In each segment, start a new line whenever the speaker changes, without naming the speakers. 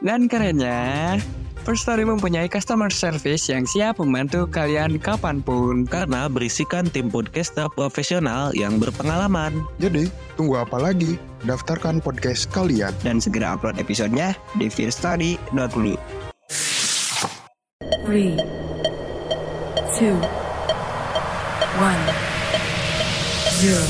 Dan kerennya, First Story mempunyai customer service yang siap membantu kalian kapanpun.
Karena berisikan tim podcaster profesional yang berpengalaman.
Jadi, tunggu apa lagi? Daftarkan podcast kalian.
Dan segera upload episodenya di fearstory.me.
three, two, one, zero.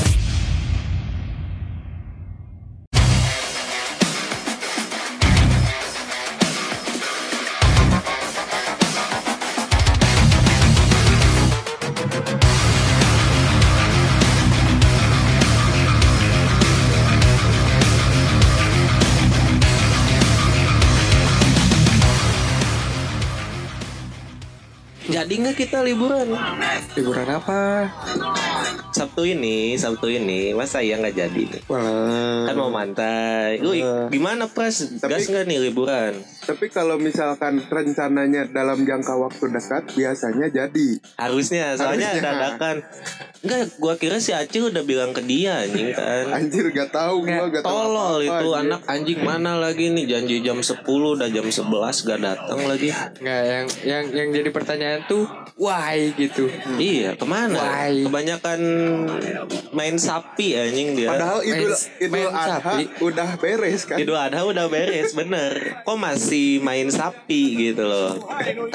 Jadi nggak kita liburan?
Liburan apa?
Sabtu ini, Sabtu ini, masa ya nggak jadi nih?
Wah,
Kan mau mantai. Lu
Eh.
gimana Pres?
Tapi-
Gas nggak nih liburan?
tapi kalau misalkan rencananya dalam jangka waktu dekat biasanya jadi.
Harusnya, soalnya
Harusnya.
dadakan. Enggak, gua kira si Acil udah bilang ke dia anjing kan.
Anjir gak tahu gua gak tahu.
Tolol
apa-apa,
itu
anjir.
anak anjing mana lagi nih janji jam 10 udah jam 11 gak datang lagi.
Nggak, yang yang yang jadi pertanyaan tuh why gitu.
Iya, kemana?
Why?
Kebanyakan main sapi anjing dia.
Ya, Padahal Idul
Main-
Idul
main
Adha
sapi.
udah beres kan.
Idul Adha udah beres bener Kok masih main sapi gitu loh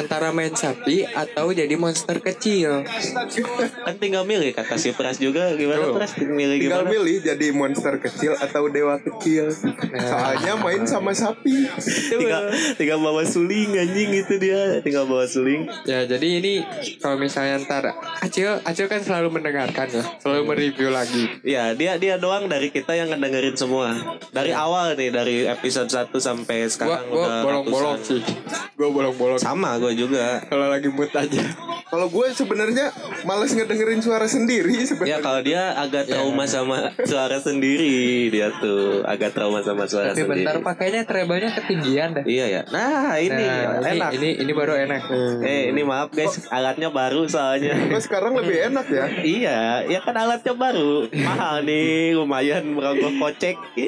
Antara main sapi atau jadi monster kecil.
Kan tinggal milih kata si Pras juga Gimana
Tuh.
Pras milih
Tinggal
gimana
milih jadi monster kecil atau dewa kecil.
Ya.
Soalnya main sama sapi.
tinggal, tinggal bawa suling anjing itu dia Tinggal bawa suling
Ya jadi ini kalau misalnya ntar Acil Acil kan selalu mendengarkan ya, selalu mereview lagi.
Ya dia dia doang dari kita yang ngedengerin semua Dari awal nih dari episode 1 sampai
Gua
sekarang udah
gua bolong-bolong sih.
ratusan.
Gua bolong-bolong
Sama gue juga
kalau lagi mood aja.
Kalau gue sebenarnya males ngedengerin suara sendiri
Ya
sebenarnya.
kalau dia agak
Iya.
trauma sama suara sendiri Dia tuh agak trauma sama suara
Tapi
sendiri
bentar pakainya treble-nya ketinggian deh.
Iya ya Nah ini
Nah, ini,
enak
ini ini baru enak.
Eh ini maaf guys, alatnya baru soalnya.
Gue sekarang lebih enak ya.
iya, ya kan alatnya baru. Mahal nih, lumayan merogoh kocek.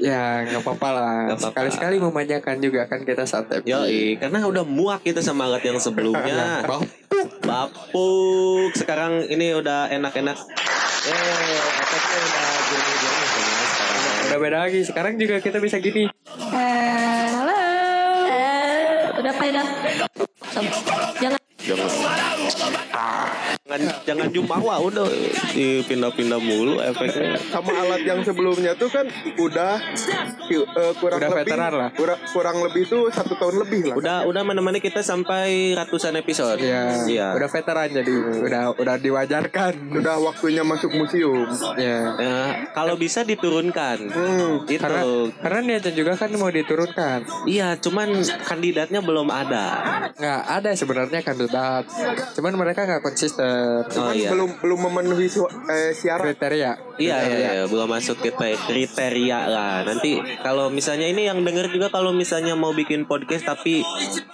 Ya nggak apa-apa lah.
Nggak apa-apa.
Sekali-sekali memanjakan juga kan kita sate.
Yoi, karena udah muak kita sama alat yang sebelumnya. Bapuk, bapuk. Sekarang ini udah enak-enak. Eh, efeknya udah jernih-jernih semua sekarang.
Udah beda lagi. Sekarang juga kita bisa gini.
Halo. Udah pada. Jangan.
Jangan, jangan jumawa udah Ih, pindah-pindah mulu efeknya.
sama alat yang sebelumnya tuh kan udah eh, kurang
Udah
lebih
veteran lah.
kurang kurang lebih tuh satu tahun lebih lah
Udah udah menemani kita sampai ratusan episode.
Ya.
Iya.
Udah veteran jadi. Udah udah diwajarkan.
udah waktunya masuk museum
Ya.
Ya, kalau bisa diturunkan. itu.
Hmm, Karena karena niatnya juga kan mau diturunkan.
Iya, cuman kandidatnya belum ada.
Nggak ada sebenarnya kandidat. Cuman kan mereka nggak konsisten.
benar.
Oh,
Kan
iya.
belum belum memenuhi su- eh, syarat.
kriteria
Iya, iya, iya, belum masuk ke pe- kriteria lah. Nanti kalau misalnya ini yang denger juga kalau misalnya mau bikin podcast tapi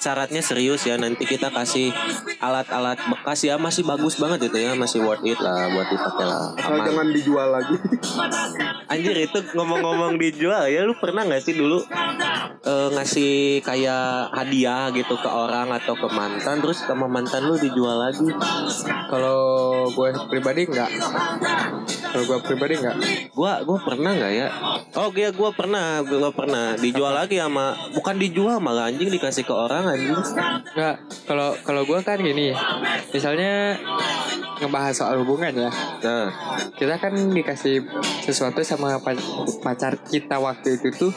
syaratnya serius ya, nanti kita kasih alat-alat bekas ya masih bagus banget itu ya, masih worth it lah buat dipakai lah.
Asal
Aman.
jangan dijual lagi.
Anjir itu ngomong-ngomong dijual ya, lu pernah nggak sih dulu eh, ngasih kayak hadiah gitu ke orang atau ke mantan, terus sama mantan lu dijual lagi?
kalau gue pribadi enggak kalau gue pribadi enggak
gua gua pernah nggak ya oh iya gua pernah gua pernah dijual lagi sama bukan dijual malah anjing dikasih ke orang anjing
Enggak, kalau kalau gue kan gini, misalnya ngebahas soal hubungan ya,
nah
kita kan dikasih sesuatu sama pa- pacar kita waktu itu tuh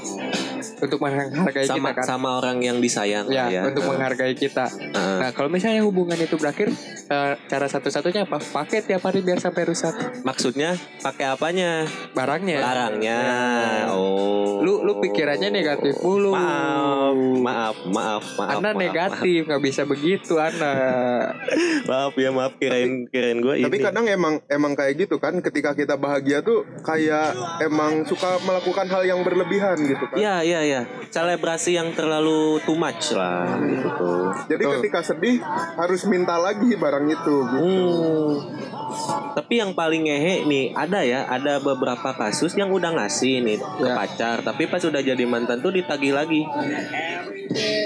untuk menghargai
sama
kita kan,
sama orang yang disayang
ya,
ya,
untuk menghargai kita.
Heeh.
Nah kalau misalnya hubungan itu berakhir, eh, cara satu-satunya apa? Pakai tiap hari biar sampai rusak
maksudnya pakai apanya
barangnya.
barangnya
Ya.
oh
Lu- lu pikirannya negatif mulu.
maaf maaf maaf maaf
Anda
maaf,
negatif, nggak bisa begitu Anda.
maaf, maaf ya maaf kirain kirain gua
Tapi
ini
kadang emang emang kayak gitu kan ketika kita bahagia tuh kayak emang suka melakukan hal yang berlebihan gitu kan.
Ya, ya, ya. Selebrasi yang terlalu too much lah, gitu tuh.
Jadi ketika sedih harus minta lagi barang itu. Gitu.
Hmm. Tapi yang paling ngehe nih ada ya, ada beberapa kasus yang udah ngasih nih ke
Ya.
pacar, tapi pas udah jadi mantan tuh ditagih lagi.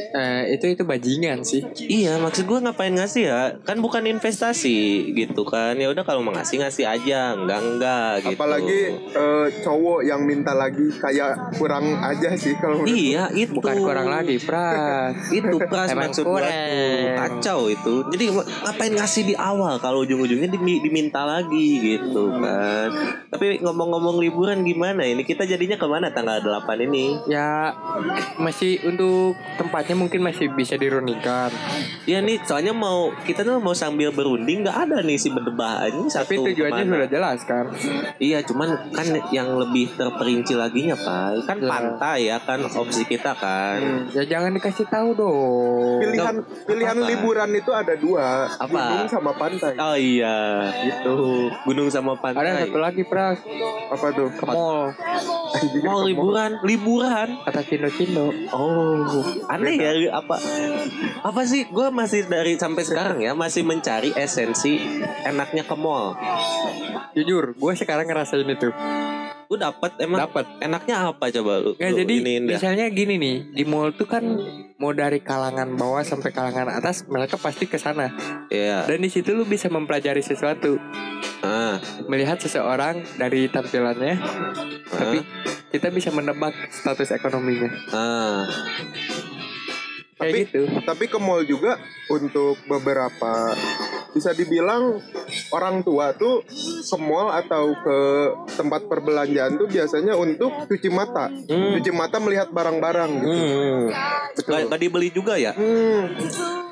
Nah, itu itu bajingan sih.
Iya, maksud gue ngapain ngasih ya? Kan bukan investasi gitu kan. Ya udah kalau mau ngasih ngasih aja, enggak enggak gitu.
Apalagi eh, cowok yang minta lagi kayak kurang aja sih kalau menurut
Iya, itu
Bukan kurang lagi, Pras.
itu pras
Emang
maksud gue
kurang.
kacau itu jadi ngapain ngasih di awal kalau ujung-ujungnya dimi- diminta lagi gitu kan tapi ngomong-ngomong liburan gimana ini kita jadinya kemana tanggal 8 ini
Ya masih untuk tempatnya mungkin masih bisa dirundingkan.
ya nih soalnya mau kita tuh mau sambil berunding nggak ada nih si berdebah aja
Tapi
satu
tujuannya
kemana.
sudah jelas kan.
iya cuman kan yang lebih terperinci lagi ya pak kan
Jelas.
pantai ya kan opsi kita kan
Ya jangan dikasih tahu dong.
pilihan pilihan
apa-apa.
liburan itu ada dua
Apa?
gunung sama pantai
oh iya gitu gunung sama pantai
Ada satu lagi Pras
apa tuh
ke mall
mau liburan liburan
kata Cindo Cindo.
Oh, aneh ya apa apa sih? Gue masih dari sampai sekarang ya masih mencari esensi enaknya ke mall.
Jujur, gue sekarang ngerasain itu.
Lu dapet emang
Dapat.
enaknya apa coba lu?
Nggak
lu
Ya, jadi
iniin dah.
misalnya gini nih di mall tuh kan mau dari kalangan bawah sampai kalangan atas mereka pasti ke sana
Iya.
dan di situ lu bisa mempelajari sesuatu
Ah,
melihat seseorang dari tampilannya tapi kita bisa menebak status ekonominya
ah.
kayak
Tapi-
gitu
tapi ke mall juga untuk beberapa bisa dibilang orang tua tuh ke mall atau ke tempat perbelanjaan tuh biasanya untuk cuci mata
Hmm.
cuci mata melihat barang-barang gitu.
Hmm.
Betul.
Gak, gak dibeli juga ya?
Hmm.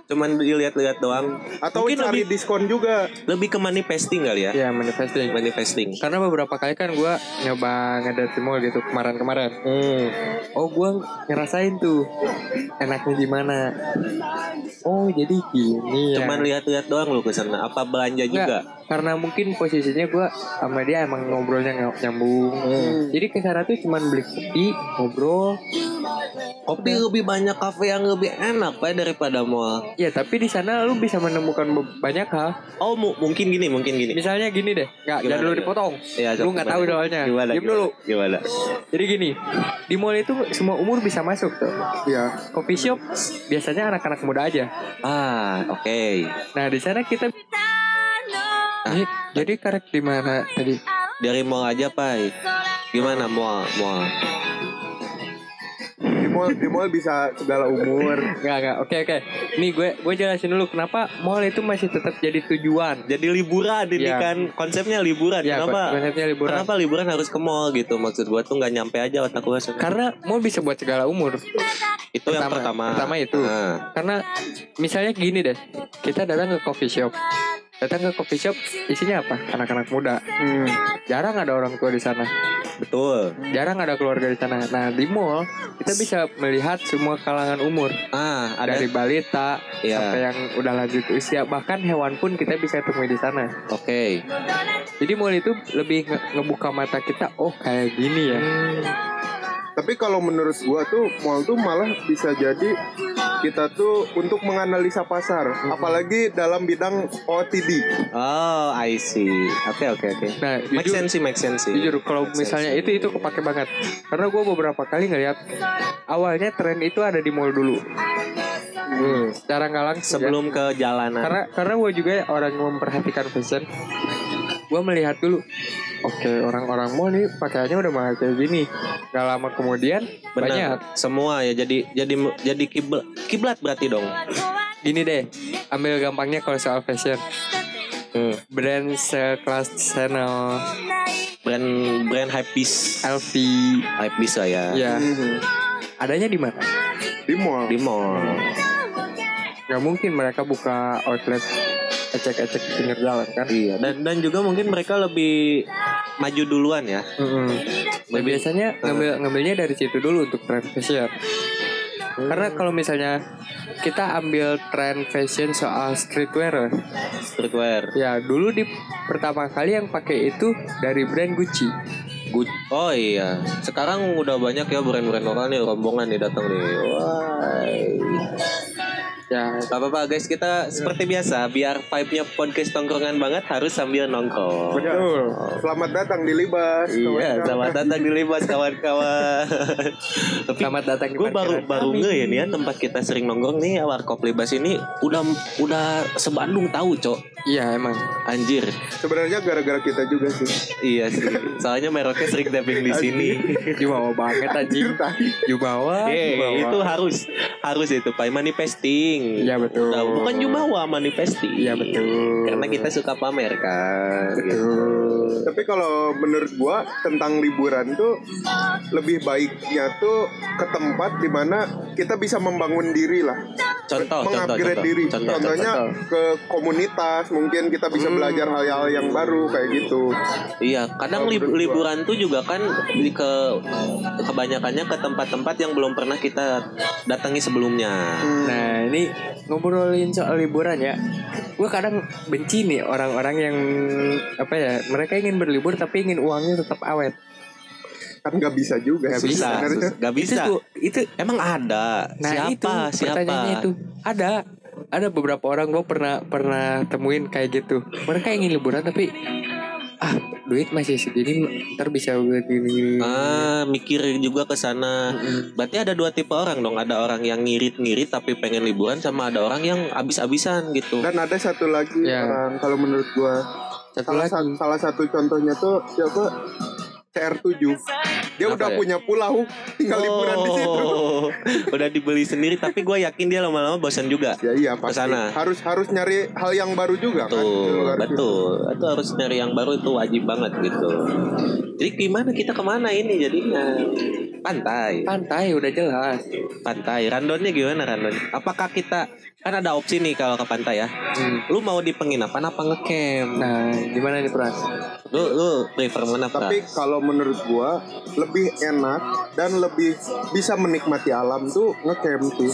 Cuman dilihat-lihat doang.
atau
Mungkin
cari
lebih-
diskon juga
Lebih ke manifesting kali ya?
ya manifesting
Manifesting.
karena beberapa kali kan gue nyoba ngedate di mall gitu kemarin-kemarin
Hmm.
oh gue ngerasain tuh enaknya gimana oh jadi gini ya
Cuman lihat-lihat doang lu ke sana. Apa belanja juga?
Nggak, karena mungkin posisinya gue sama dia emang ngobrolnya ny- nyambung
Hmm.
jadi kesana tuh cuman beli kopi ngobrol
Kopi lebih banyak kafe yang lebih enak pak ya, daripada mall.
ya tapi di sana lu bisa menemukan be- banyak hal
Oh, mu- mungkin gini, mungkin gini.
misalnya gini deh nggak
Gimana,
jangan dulu
gimana?
dipotong
Ya,
lu nggak tahu soalnya
Gimana?
Diam dulu
Gimana?
jadi gini di mall itu semua umur bisa masuk tuh
ya
coffee shop biasanya anak-anak muda aja
Ah, oke.
nah di sana kita Eh, jadi karek di mana tadi
Dari mall aja, Pai. Gimana mall? Mall.
di mall di mall bisa segala umur
Enggak, enggak. Oke, oke. Nih gue gue jelasin dulu kenapa mall itu masih tetap jadi tujuan.
Jadi liburan ini
Ya.
kan konsepnya liburan.
Ya,
kenapa?
konsepnya liburan.
Kenapa liburan harus ke mall gitu? Maksud gua tuh nggak nyampe aja otak gua sebenarnya.
Karena mall bisa buat segala umur.
itu yang pertama.
Pertama itu.
Ah.
Karena misalnya gini deh, kita datang ke coffee shop. Hmm. Datang ke coffee shop isinya apa? Anak-anak muda. Jarang ada orang tua di sana.
Betul.
Jarang ada keluarga di sana. Nah di mall kita bisa melihat semua kalangan umur
Ah, ada
dari balita
Iya.
sampai yang udah lanjut usia. Bahkan hewan pun kita bisa temui di sana.
Oke.
Jadi mall itu lebih nge- ngebuka mata kita. Oh kayak gini ya.
Tapi kalau menurut gua tuh mall tuh malah bisa jadi kita tuh untuk menganalisa pasar,
Mhm.
apalagi dalam bidang OTD.
Oh, I see. Oke, oke, oke.
Nah
Make
jujur,
sense sih, make sense sih.
jujur kalau misalnya itu itu kepake banget. Karena gue beberapa kali ngeliat awalnya tren itu ada di mall dulu. Secara nggak langsung. Hmm. ya.
sebelum ke jalanan.
karena karena gue juga orang yang memperhatikan fashion gue melihat dulu oke orang-orang mau nih pakaiannya udah mahal kayak gini gak lama kemudian banyak
Benar. Semua ya jadi jadi jadi kiblat, kiblat berarti dong.
gini deh ambil gampangnya kalau soal fashion Hmm. brand sekelas Chanel
Brand brand hypebeast.
LV
Hypebeast lah ya.
ya
Mhm.
adanya di mana
Di mall.
Di mall.
nggak mungkin mereka buka outlet ecek-ecek di pinggir jalan kan
Iya, dan dan juga mungkin mereka lebih maju duluan ya.
Mm-mm. Ya,
Lebih-
biasanya ngambil ngambilnya dari situ dulu untuk tren fashion. Karena kalau misalnya kita ambil tren fashion soal streetwear,
streetwear.
ya dulu di pertama kali yang pakai itu dari brand Gucci.
Gu- oh iya, sekarang udah banyak ya brand-brand lokal nih rombongan nih datang nih. Wah.
Ya,
Gak apa-apa guys, kita seperti biasa biar vibe-nya podcast tongkrongan banget harus sambil nongkrong.
Betul. Selamat datang di Libas.
Iya, selamat datang di Libas kawan-kawan. Tapi
selamat datang di
gue baru
parkiran
baru
kami.
nge ya nih ya tempat kita sering nongkrong nih warkop Libas ini udah udah sebandung tahu cok
Iya emang.
anjir
Sebenarnya gara-gara kita juga sih.
iya sih soalnya meroknya sering tapping di sini
Jumawa banget anjing. Iya, Jumawa.
Eh,
jumawa.
itu harus harus itu Pak manifesting.
Iya, betul.
Udah, bukan jumawa manifesting.
Iya, betul.
Karena kita suka pamer kan. gitu.
Tapi kalau menurut gua tentang liburan tuh lebih baiknya tuh ke tempat dimana kita bisa membangun diri lah,
Contoh, Oh, contoh,
mengupgrade
contoh.
diri.
Contoh,
Contohnya
contoh. Hmm.
ke komunitas, mungkin kita bisa belajar hal-hal yang baru kayak gitu.
Iya, kadang
Kalau
lib-
menurut gua.
liburan tuh juga kan di ke kebanyakannya ke tempat-tempat yang belum pernah kita datangi sebelumnya.
Hmm,
Nah ini ngobrolin soal liburan ya Gue kadang benci nih orang-orang yang Apa ya Mereka ingin berlibur tapi ingin uangnya tetap awet
Kan nggak bisa juga.
Nggak
sih
bisa,
Susah,
sebenarnya.
susah. Gak
Itu
bisa.
tuh Itu
Emang ada.
Nah itu
siapa? Siapa?
pertanyaannya itu Ada Ada beberapa orang gue pernah Pernah temuin kayak gitu Mereka ingin liburan tapi Ah duit masih segini Ntar bisa buat gini
Ah, mikir juga ke sana. Berarti ada dua tipe orang dong. Ada orang yang ngirit-ngirit tapi pengen liburan sama ada orang yang abis-abisan gitu.
Dan ada satu lagi
Ya.
orang, kalau menurut gua
Satu
salah,
lagi.
sa- salah satu contohnya tuh siapa? CR7. Dia
Kenapa
udah
ya?
punya pulau, tinggal liburan di situ.
Oh, Udah dibeli sendiri tapi gue yakin dia lama-lama bosan juga.
Ya iya pasti.
Kesana.
Harus harus nyari hal yang baru juga kan. di
Tuh,
luar situ.
betul. Itu harus nyari yang baru itu wajib banget gitu. Jadi gimana kita kemana ini jadinya? Pantai,
Pantai udah jelas
pantai. Randonnya gimana randon? Apakah kita kan ada opsi nih kalau ke pantai ya? Lu mau di penginapan apa ngecamp?
Hmm. Nah gimana nih Pras
Lu, lu prefer mana Pra?
Tapi ya. kalau menurut gua lebih enak dan lebih bisa menikmati alam tuh ngecamp tuh.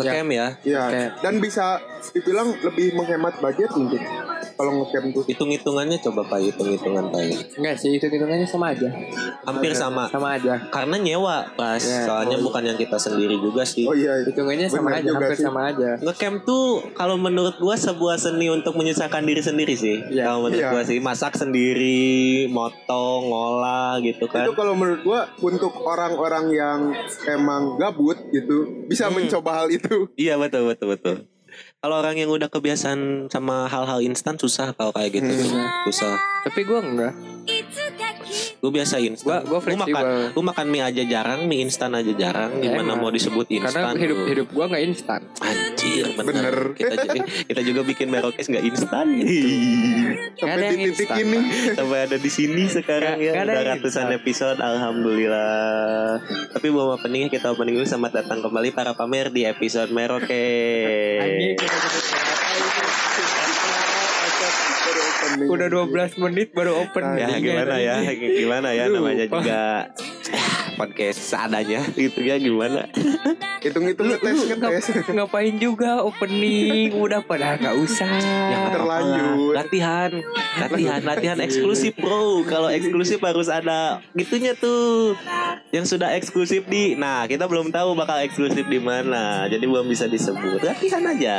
Ngecamp ya?
Ya.
Ngecamp.
Dan bisa dibilang lebih menghemat budget mungkin kalau ngecamp
Iya.
tuh.
Hitung-hitungannya coba Pak, hitung-hitungan Pak.
Enggak sih hitung-hitungannya sama aja
Hampir sama.
Sama aja
Karena nyewa pas,
Ya.
soalnya bukan yang kita sendiri juga sih.
Oh iya.
Hitungannya sama
Bener
aja
juga
Hampir
sih.
sama aja
Ngecamp tuh kalau menurut gua sebuah seni untuk menyusahkan diri sendiri sih.
Iya.
Kalau menurut
Iya.
gua sih masak sendiri, motong, ngolah gitu
Itu
kan.
kalau menurut gua untuk orang-orang yang emang gabut gitu bisa
Hmm.
mencoba hal itu.
Iya betul betul betul. Kalau orang yang udah kebiasaan sama hal-hal instan susah kalau kayak gitu.
Hmm.
Susah.
Tapi gue enggak
Gue biasa instan.
Gua- gua
Gua makan
fleksibel.
gua makan mie aja jarang, mie instan aja jarang.
Ya,
Gimana
emang.
mau disebut
Karena
instan?
hidup
tuh?
hidup Iya, gua nggak instan.
Anjir bener,
Bener.
Kita, juga, kita juga bikin merokes nggak instan
ada
Sampai di
yang
titik
instan,
ini.
Sampai ada di sini sekarang
Nggak-
ya
nggak ada
Udah
yang
ratusan
instan.
episode Alhamdulillah Tapi belum opening kita opening dulu Selamat datang kembali para pamer di episode merokes
baru opening.
Udah 12 menit baru open
Nah,
ya
Tadinya
gimana ya gimana ya
Aduh,
namanya
Pak.
juga podcast seadanya gitu ya gimana
Hitung-hitung ngetes ngetes.
Ngap- ngapain juga opening udah pada nggak usah
nggak apa-apa lah.
Terlanjut.
latihan latihan latihan eksklusif bro kalau eksklusif harus ada gitunya tuh yang sudah eksklusif di nah kita belum tahu bakal eksklusif di mana jadi belum bisa disebut latihan aja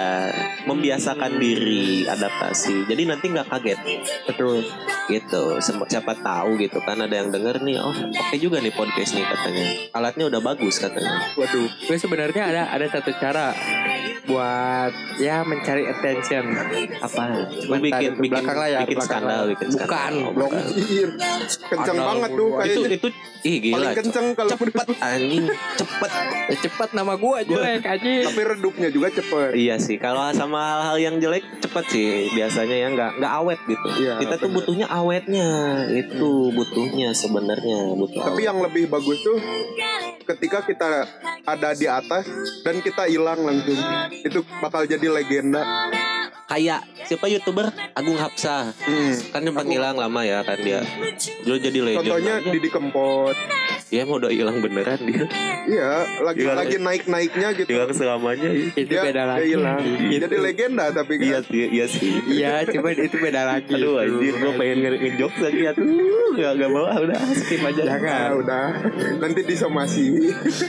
membiasakan diri adaptasi jadi nanti nggak kaget betul gitu Sem- siapa tahu gitu kan ada yang denger nih oh oke juga nih podcast nih katanya alatnya udah bagus katanya
waduh gue sebenarnya ada ada satu cara buat ya mencari attention
apa
Bentar,
bikin
ke
bikin
belakang lah ya,
bikin
belakang
skandal
lah.
bikin
Bukan,
skandal. Oh,
Blok ir. Kenceng
Ada
banget tuh
gua.
itu
kayaknya.
itu ih gila
Paling kenceng kalau
cepet anjing cepet
Ya, cepet nama gue jelek aja
tapi redupnya juga cepet.
iya sih kalau sama hal-hal yang jelek cepet sih biasanya ya nggak nggak awet gitu
Iya,
kita tuh
bener.
butuhnya awetnya itu butuhnya sebenarnya butuh
Tapi ya- yang lebih bagus tuh ketika kita ada di atas dan kita hilang langsung. Itu bakal jadi legenda.
kayak siapa youtuber Agung Hapsa
Hmm.
kan sempat hilang lama ya kan dia dulu jadi legend
Contohnya
aja.
Didi Kempot.
dia mau udah hilang beneran dia
Iya, lagi
Hilang.
lagi naik-naiknya gitu.
hilang selamanya ya.
itu
Dia-
beda
Dia
lagi
hilang. Jadi legenda tapi kan.
iya sih iya sih
iya cuman itu beda lagi
Aduh anjir gue pengen nge- ngejok lagi Aduh gak, gak mau ah, udah skip aja
Nah, udah. Nanti disomasi.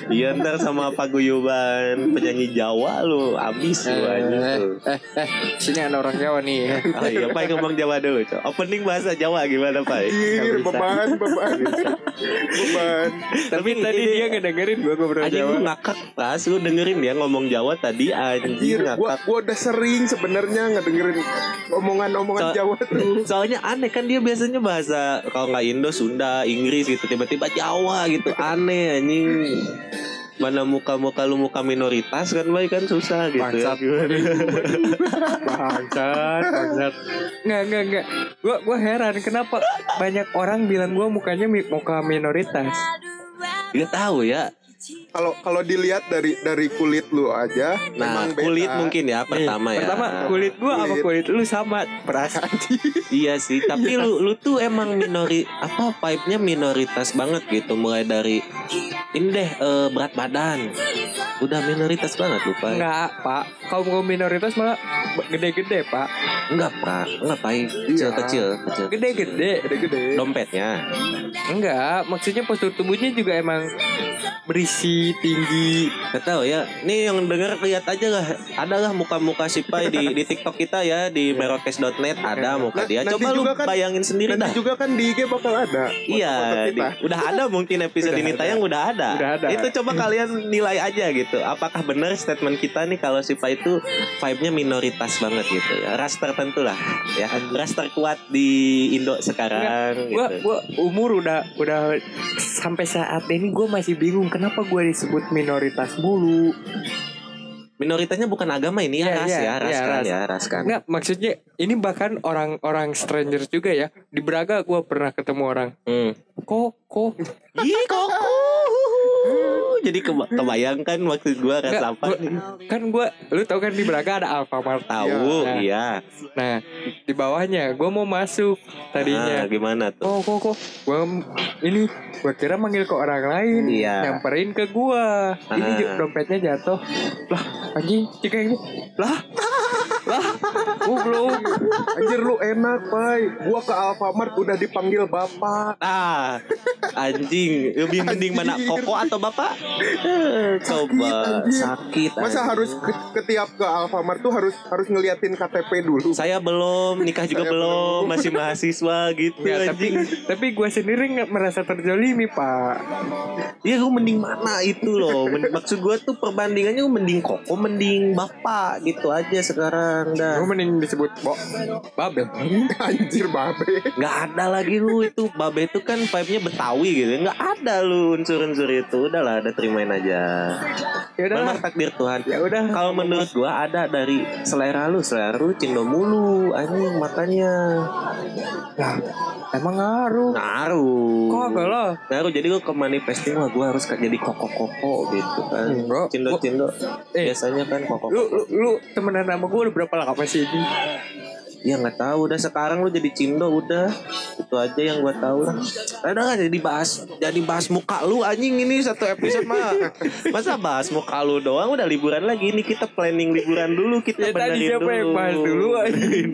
Iya ntar sama paguyuban penyanyi Jawa lu Abis lu aja
Eh,
tuh
eh, eh, sini ada orang Jawa nih.
Oh iya Pai ngomong Jawa dulu Cok. Opening bahasa Jawa gimana Pai?
Iya,
Ir, beban, beban. beban.
Tapi tadi
ini-
dia ngedengerin gua ngobrol
Anjing
Jawa.
lu ngakak pas Lu dengerin dia ngomong Jawa tadi
Anjir,
Anjir
Iya,
Iya,
gua,
ngakak
gua udah sering sebenarnya ngedengerin omongan-omongan
So-
Jawa tuh.
Soalnya aneh kan dia biasanya bahasa Kalau nggak Indo, Sunda, Inggris gitu Tiba-tiba Jawa gitu Aneh anjing Mana muka-muka lu muka minoritas kan Pai kan susah gitu
Bangsat. Bangsat, bangsat. Nggak, nggak, nggak. Gua, gua heran kenapa banyak orang bilang gua mukanya mi- muka minoritas.
Gak tahu ya.
Kalau kalau dilihat dari dari kulit lu aja,
Nah,
memang beda.
kulit mungkin ya pertama
Eh,
ya.
Pertama kulit gua sama kulit lu sama perasaan.
Iya sih, tapi lu lu tuh emang minori apa vibe-nya minoritas banget gitu mulai dari ini deh eh, berat badan. Udah minoritas banget lu, Pak. Enggak,
Enggak, Pak. Kaum kaum minoritas malah b- gede-gede, Pak.
enggak, Pak. Enggak, Pak. Kecil,
Iya.
kecil, kecil.
Gede-gede.
gede-gede.
Dompetnya.
Enggak, maksudnya postur tubuhnya juga emang berisi tinggi.
Gak tahu ya. Nih yang denger lihat aja lah. Adalah muka-muka si Pai di di TikTok kita ya di merokes.net ada muka
Iya.
dia.
Nah, nanti
Coba lu
juga kan-
bayangin sendiri dah.
Nanti juga kan di IG bakal ada. foto-foto
Iya, di-
kita.
udah ada mungkin episode
Udah
ini
ada.
tayang udah ada.
Udah ada. Hmm.
Itu coba kalian nilai aja gitu. Apakah benar statement kita nih kalau Sipa itu vibe-nya minoritas banget gitu ya. Ras tertentu lah ya. Ras terkuat di Indo sekarang
Gua,
gitu.
gua umur udah udah sampai saat ini gue masih bingung kenapa gue disebut minoritas mulu.
Minoritasnya bukan agama ini
Iya,
ya, ras
iya,
ya, ras
iya,
kan
ras.
ya, ras kan.
Enggak, maksudnya ini bahkan orang-orang stranger juga ya. Di Braga gue pernah ketemu orang
Hmm.
koko.
Ih, kok jadi keba- kebayangkan maksud gua ras
Enggak,
apa
gua-
nih?
Kan gue, lu tau kan di Braga ada Alfamart.
Tahu,
Iya.
iya.
Nah, di bawahnya gue mau masuk
Ah,
tadinya.
gimana tuh?
Kok kok kok Oh, gua ini gua kira manggil ke orang lain
Iya.
nyamperin ke gua ini
Ah.
ju- dompetnya jatuh lah anjing jika ini lah lah goblok
Anjir lu enak, Pai. Gua ke Alfamart udah dipanggil bapak.
Ah, anjing lebih mending mana
Anjir.
koko atau bapak? Eh, Coba
anjir.
sakit. anjing.
Masa harus ke, ketiap ke Alfamart tuh harus harus ngeliatin KTP dulu.
Saya belum nikah juga
Saya
belum,
belum.
masih mahasiswa gitu
ya, tapi
anjing.
tapi gua sendiri nggak merasa terjolimi pak
Ya lu mending mana itu loh. Men- Maksud gua tuh perbandingannya lu mending koko, mending bapak gitu aja sekarang dah.
gua mending disebut bo babe
Anjir babe.
Nggak ada lagi lu itu Babe itu kan vibe-nya Betawi gitu Nggak ada lu unsur-unsur itu Udahlah ada terimain aja
ya
Memang
udah
takdir Tuhan
ya udah
Kalau menurut gua ada dari selera lu, selera lu cindo mulu, anjing makanya
Lah, emang ngaruh
Nah. ngaruh.
kok agak lah
Ngaruh jadi lu ke manifesting lah, gua harus kayak jadi koko-koko gitu kan.
Enggak.
Cindo-cindo
Hmm, Eh.
biasanya kan koko.
lu lu, lu temenan sama gua udah berapa lama sih ini
ya nggak tahu udah sekarang lu jadi cindo udah itu aja yang gua tahu lah ada nggak jadi bahas jadi bahas muka lu anjing ini satu episode mah masa bahas muka lu doang udah liburan lagi ini kita planning liburan dulu kita
Ya tadi
benerin
siapa
dulu
yang bahas dulu anjing?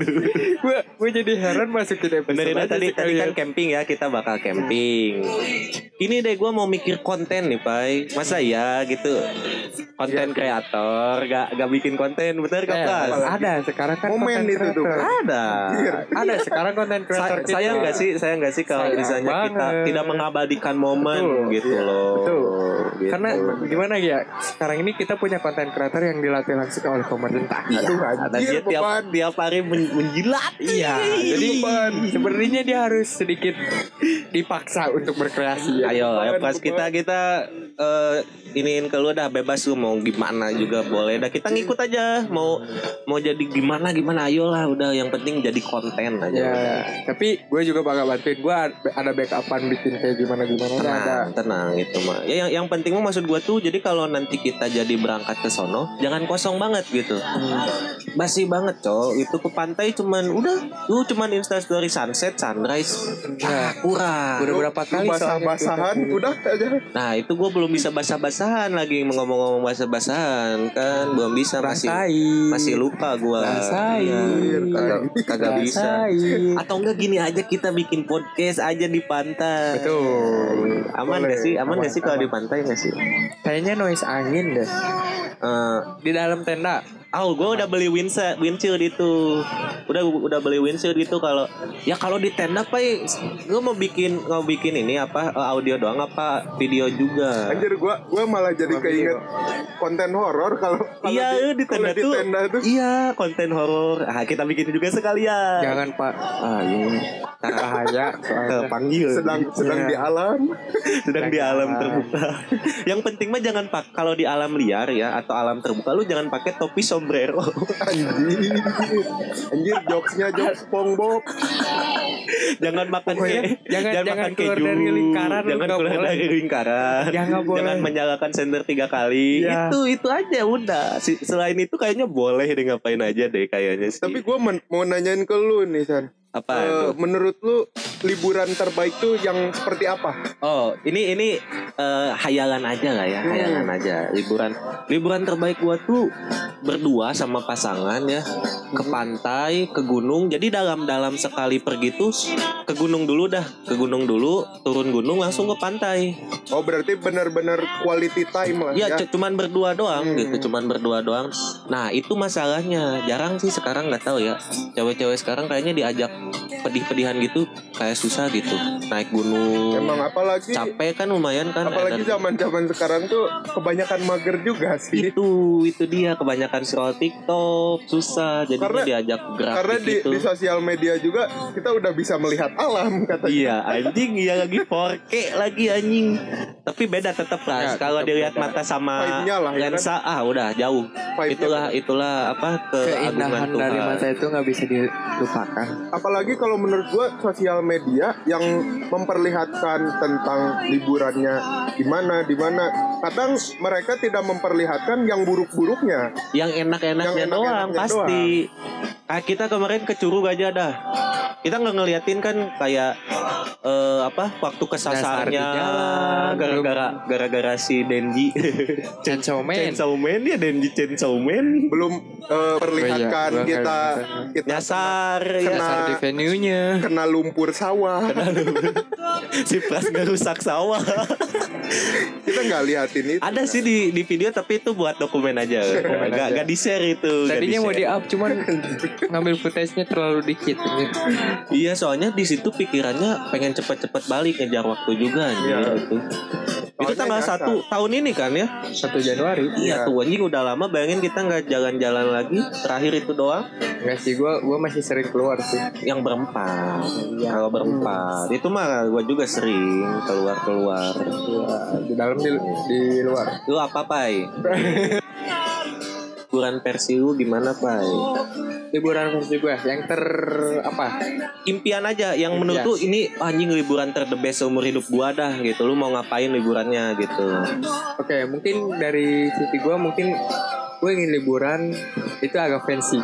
Gua gua jadi heran masukin episode
Benerin aja
aja
tadi tadi kan
sekalian.
camping ya kita bakal camping. Ini deh gue mau mikir konten nih Pai. Masa ya gitu konten
Iya.
kreator gak gak bikin konten bener
Eh,
kapas.
ada sekarang kan
Momen
konten
itu tuh.
creator.
ada.
Ada sekarang konten creator
Sa- sayang nggak sih sayang nggak sih kalau
Sayang
misalnya kita
banget.
tidak mengabadikan momen
Betul. Iya,
gitu loh.
Betul.
Gitu.
Karena gimana ya sekarang ini kita punya konten kreator yang dilatih langsung oleh pemerintah.
Iya.
Aduh
Karena
anjir
dia tiap
beban.
tiap hari men- menjilat.
Iya, jadi sebenarnya dia harus sedikit dipaksa untuk berkreasi. Ya.
Iya, Ayo, ayo
beban,
pas
beban.
kita kita eh, iniin ke lu dah bebas lu mau gimana juga boleh. Dah kita ngikut aja mau mau jadi gimana gimana ayolah udah yang penting jadi konten aja.
Ya, tapi gue juga bakal bantuin. Gue ada backupan bikin kayak gimana
Nah,
gimana. Ada.
Tenang, tenang gitu mah. Ya yang yang penting mah maksud gua tuh jadi kalau nanti kita jadi berangkat ke sono jangan kosong banget gitu.
Hmm.
Basi banget, Cok. Itu ke pantai cuman udah lu cuman insta story sunset, sunrise.
Nah,
Ah, kurang.
Udah berapa kali soalnya kita-
basah-basahan udah aja
Nah itu gue belum bisa basah-basahan lagi ngomong-ngomong basah-basahan kan belum bisa masih
Rasain.
masih lupa gue
Rasain.
kagak, kagak bisa
Rasain.
atau enggak gini aja kita bikin podcast aja di pantai
Betul.
aman
Boleh.
gak sih aman,
Aman,
gak sih kalau
aman.
di pantai gak sih
Kayaknya noise angin deh.
Eh,
Di dalam tenda.
Oh, gue udah beli windshield, windshield itu. Udah udah beli windshield itu kalau ya kalau di tenda pai gue mau bikin mau bikin ini apa eh, audio doang apa video juga.
Anjir gua gua malah jadi keinget konten horor kalau kalau
Iya, di,
kalau
tenda
di
tuh.
tenda tuh
Iya, konten horor. Ah, kita bikin juga sekalian.
Jangan Ah, pak.
Ah, iya.
Bahaya. Eh,
Ke panggil.
sedang sedang
Iya.
Iya.
di alam
sedang di alam terbuka. Yang penting mah jangan pak kalau di alam liar ya atau alam terbuka lu jangan pakai topi sombrero.
anjir anjir jokesnya jokes SpongeBob
jangan makan
Pokoknya
ke-
jangan- jangan
makan
keluar
keju.
dari lingkaran, lu
Jangan
nggak
keluar
boleh.
dari lingkaran.
Ya, nggak boleh.
Jangan menyalakan senter tiga kali.
Iya.
Itu itu aja udah. Si- Selain itu kayaknya boleh deh ngapain aja deh kayaknya sih.
tapi gua men- mau nanyain ke lu nih San
apa?
Eh,
tuh?
menurut lu liburan terbaik tuh yang seperti apa?
Oh, ini ini eh, hayalan aja lah ya, hayalan
Hmm.
aja. Liburan liburan terbaik gua tuh berdua sama pasangan ya ke
Hmm.
pantai, ke gunung. Jadi dalam dalam sekali pergi tuh ke gunung dulu dah, ke gunung dulu, turun gunung langsung ke pantai.
Oh berarti benar-benar quality time lah ya.
Iya, cu- cuman berdua doang
Hmm.
gitu, cuman berdua doang. Nah, itu masalahnya. Jarang sih sekarang nggak tahu ya. Cewek-cewek sekarang kayaknya diajak pedih-pedihan gitu kayak susah gitu. Naik gunung.
Emang apalagi
capek kan lumayan kan
apalagi
energi.
zaman-zaman sekarang tuh kebanyakan mager juga sih.
itu itu dia kebanyakan scroll TikTok susah jadinya
Karena-
diajak gerak
Karena di,
gitu.
di sosial media juga kita udah bisa melihat alam katanya.
Iya anjing iya lagi 4K lagi anjing tapi beda tetap lah
Ya,
kalau
tetep
dilihat
beda.
mata sama
Vibe-nya lah, ya kan?
lensa ah udah jauh
Vibe-nya
itulah itulah apa keagungan
Keindahan
Tuhan
dari mata itu nggak bisa dilupakan.
Apalagi kalau menurut gua sosial media yang memperlihatkan tentang liburannya di mana di mana. Kadang mereka tidak memperlihatkan yang buruk-buruknya.
yang enak-enaknya
Yang
doang
enak-enaknya
pasti Ah, kita kemarin ke Curug aja dah kita nggak ngeliatin kan kayak eh, apa waktu
di
kesasarnya
jalan,
gara-gara gara-gara si Denji
Chainsaw Man.
Chainsaw Man ya Denji Chainsaw Man
Belum eh,
Iya,
Oh
perlihatkan
belum
kita
gitu.
kelihatan.
kita
nyasar ya
Kena-
Dasar Iya, di venue-nya.
kena lumpur sawah.
si Pras ngerusak sawah
Kita nggak liatin itu.
ada sih di di video tapi itu buat dokumen aja nggak nggak di share itu nggak
Tadinya mau
di-share.
di up cuman ngambil footage-nya terlalu dikit.
Iya soalnya di situ pikirannya pengen cepet-cepet balik ngejar waktu juga anjir
Iya.
gitu. Itu
Soalnya
tanggal
nyasar.
1 tahun ini kan ya?
Satu Januari.
Iya tuh anjing udah lama bayangin kita nggak jalan-jalan lagi Terakhir itu doang
Enggak sih, gue gua masih sering keluar sih.
yang berempat Kalau berempat itu mah gue juga sering keluar-keluar
Ya,
Iya.
di dalam di, di luar.
Lu apa Pai? Liburan versi lu gimana Pai?
Liburan versi gue yang ter apa?
Impian aja yang menurut lu ini anjing liburan terdebes seumur hidup gua dah gitu Lu mau ngapain liburannya gitu
Oke, mungkin dari sisi gue mungkin gue ingin liburan itu agak fancy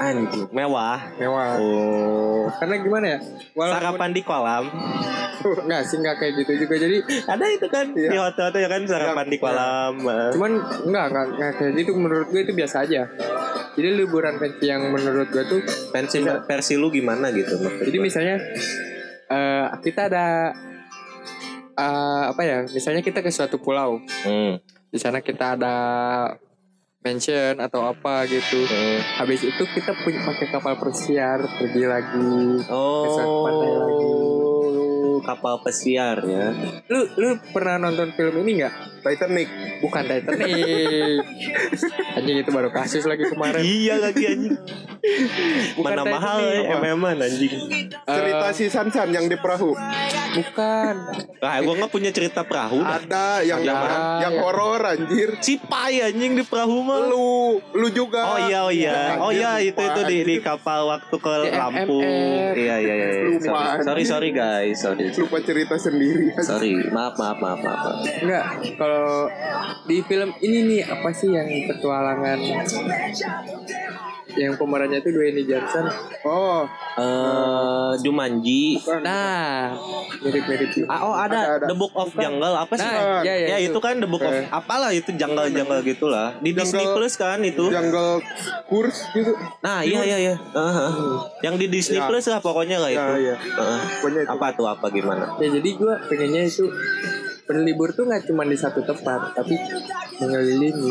anjing
Mewah.
mewah
Oh.
karena gimana ya
Sarapan di kolam.
nggak sih nggak kayak gitu juga jadi
Ada itu kan
Iya.
di hotel-hotel ya kan sarapan
Yang-
di kolam. eh.
cuman nggak nggak nggak kayak gitu menurut gue itu biasa aja jadi liburan fancy yang menurut gue tuh
Pensi versi lu gimana gitu maksud
Jadi
gua.
misalnya eh, kita ada eh, apa ya? Misalnya kita ke suatu pulau,
Hmm,
di sana kita ada mansion atau apa gitu.
hmm.
Habis itu kita punya pakai kapal persiar pergi lagi. Kesan pantai lagi.
Oh, kapal pesiar ya.
Lu lu pernah nonton film ini nggak?
Titanic
Bukan Titanic. Anjing itu baru kasus lagi kemarin.
Iya lagi anjing.
Bukan
Mana
Titanic,
mahal ya
apa?
MM anjing.
cerita
Eh,
si Sansan yang di perahu
bukan.
Lah Ah, gua nggak punya cerita perahu. dah.
ada yang
Ada.
yang horor anjir
Si Pai anjing di perahu mah.
lu lu juga
Oh iya oh iya.
Anjir,
Oh iya itu itu di di
anjir.
kapal waktu ke
Di
Lampung.
MMR.
Iya iya iya.
Lupa,
Sorry
anjing.
sorry, sorry guys. Sorry.
lupa cerita sendiri
Sorry. Maaf maaf maaf maaf. maaf. Eh,
Enggak, kalau di film ini nih apa sih yang petualangan yang pemerannya itu Dwayne Johnson.
oh
Eh Jumanji.
Nah, mirip-mirip juga.
Ah, oh ada,
Ada, ada.
The Book of Jungle apa sih?
Nah, ya, ya,
ya itu kan The Book of
Eh.
apalah itu jungle-jungle gitulah. Di
Jungle-
Disney Plus kan itu.
jungle kurs gitu
Nah, iya iya iya. Heeh. Yang di Disney
Ya.
Plus lah pokoknya lah
Ya,
itu.
ya.
Heeh.
pokoknya itu
Apa tuh apa gimana?
Ya jadi gue pengennya itu berlibur tuh nggak cuma di satu tempat, tapi mengelilingi.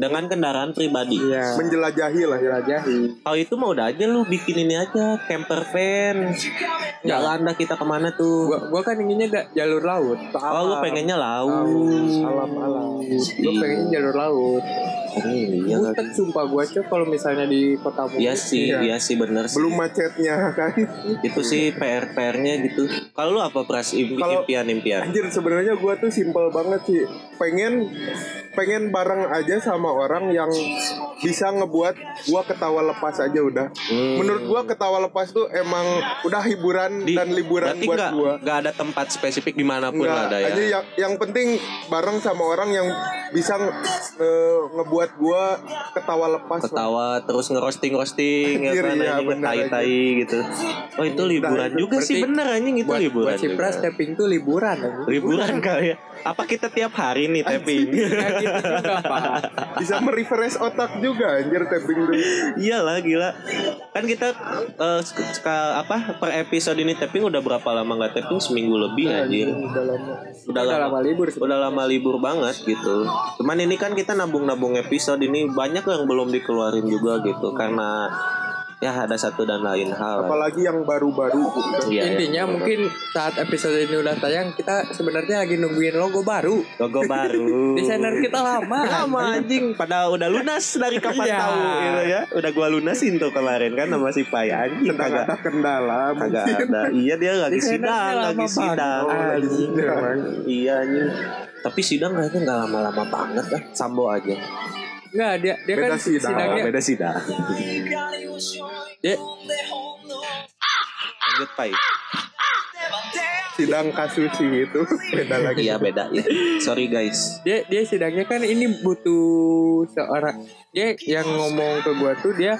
Dengan kendaraan pribadi.
Iya.
menjelajahi lah ya
Menjelajahi.
Kalau itu mau udah aja lu bikin ini aja camper van.
Iya.
Jalan dah kita kemana tuh?
Gua, gua kan inginnya gak jalur laut. ke
Oh, lu
alam.
pengennya
Laut,
laut.
alam alam. Gue pengennya jalur laut.
Iya lagi.
Butet sumpah gue aja kalau misalnya di kota Bogor.
Iya sih,
Iya.
iya sih bener sih.
belum macetnya kan
Itu sih PR-PR-nya gitu. Kalau lu apa pras Im-
Kalau-
impian-impian?
anjir sebenarnya gua tuh simple banget sih pengen pengen bareng aja sama orang yang bisa ngebuat gua ketawa lepas aja udah menurut gua ketawa lepas tuh emang udah hiburan
Hmm. Di-
dan liburan
Berarti
buat
nggak
gua
nggak ada tempat spesifik dimanapun
Nggak,
lah ada ya.
aja yang, yang penting bareng sama orang yang bisa eh, ngebuat gua ketawa lepas lah.
ketawa terus ngerosting roasting ya
Anjir,
kan
iya,
anjing
benar, Nah,
tai tai gitu oh itu liburan
itu
juga sih
berarti
bener anjing itu
buat,
liburan
buat si
juga.
Pras tapping tuh liburan anjing.
liburan kali ya apa kita tiap hari nih tapping
Nggak gitu juga, Pak.
bisa merefresh otak juga anjir tapping dulu
iyalah Iya gila kan kita eh, sk- sk- apa per episode ini tapping udah berapa lama nggak tapping seminggu lebih anjir
Iya, udah lama
Udah
udah lama
lama.
libur sih.
udah lama libur banget gitu cuman ini kan kita nabung-nabung episode ini banyak yang belum dikeluarin juga gitu karena ya ada satu dan lain hal
apalagi yang baru-baru gitu.
Iya, iya.
Intinya mungkin saat episode ini udah tayang kita sebenarnya lagi nungguin logo baru.
logo baru
Desainer kita lama.
Oh. lama anjing padahal Iya, udah lunas dari kapan
Iya.
tahu gitu ya udah gua lunasin tuh kemarin kan sama si Pai anjing
sedang
kagak
ada kendala
kagak ada iya dia lagi
Desainernya
sidang
lama
lagi
banget.
sidang
Oh, lagi
anjing.
sidang.
iya anjing tapi sidang kayaknya nggak lama-lama banget lah sambo aja
Enggak, dia dia kan
Beda sidang.
sidangnya
beda sidang
dia,
lanjut Pai
sidang kasus itu beda lagi
iya beda ya sorry guys
dia dia sidangnya kan ini butuh seorang dia yang ngomong ke gua tuh dia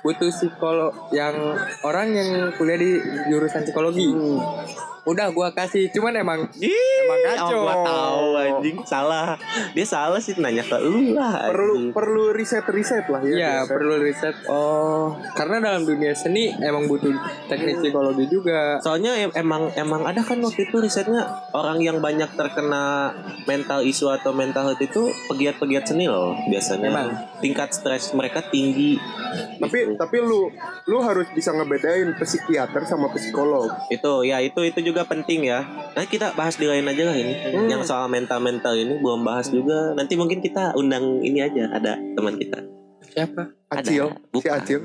butuh psikolog yang orang yang kuliah di jurusan psikologi. Udah gua kasih, cuman emang
Hmm. Ih,
Emang
oh,
kacau.
gua tahu anjing salah. Dia salah sih nanya ke lu lah. anjing.
perlu perlu riset-riset lah ya
Iya
biasa.
perlu riset. Oh, karena dalam dunia seni emang butuh teknik psikologi juga.
Soalnya em- emang emang ada kan waktu itu risetnya orang yang banyak terkena mental isu atau mental health itu pegiat-pegiat seni loh biasanya.
Emang.
Tingkat stres mereka tinggi. Gitu.
tapi tapi lu lu harus bisa ngebedain psikiater sama psikolog
Itu ya itu itu juga penting ya. Nah kita bahas di lain aja lah ini. Yang soal mental-mental ini belum bahas juga. Nanti mungkin kita undang ini aja ada teman kita.
Siapa?
Ada.
acil si
Bukan.
acil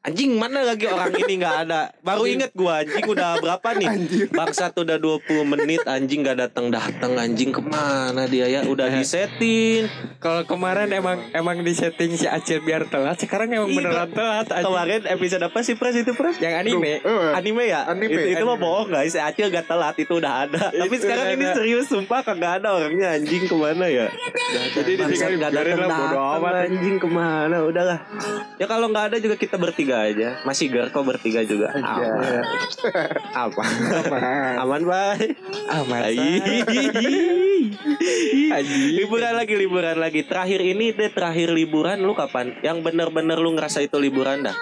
Anjing mana lagi orang ini nggak ada Baru inget gua anjing udah berapa nih
Anjir.
Bangsat udah 20 menit anjing gak datang-datang anjing kemana dia ya Udah disetin
Kalau kemarin emang emang di setting si Acil biar telat, sekarang emang
Iya.
beneran telat. anjing.
Kemarin episode apa sih Pres itu Pres?
Yang anime.
Eh,
Anime ya?
Anime.
Itu, itu mah
Anime.
bohong guys, Acil gak telat itu udah ada Tapi
Itu
sekarang ini
ada.
serius sumpah kagak ada orangnya anjing kemana ya
Jadi ditinggalin
Bangsat, nggak
biarin lah bodo
datang-datang,
amat.
Anjing kemana udahlah Ya kalau gak ada juga kita bertiga aja Masih Gerko bertiga juga Aman
Iya.
Apa? Aman bye
Amat.
Anjing. liburan lagi liburan lagi terakhir ini deh terakhir liburan lu kapan yang bener-bener lu ngerasa itu liburan dah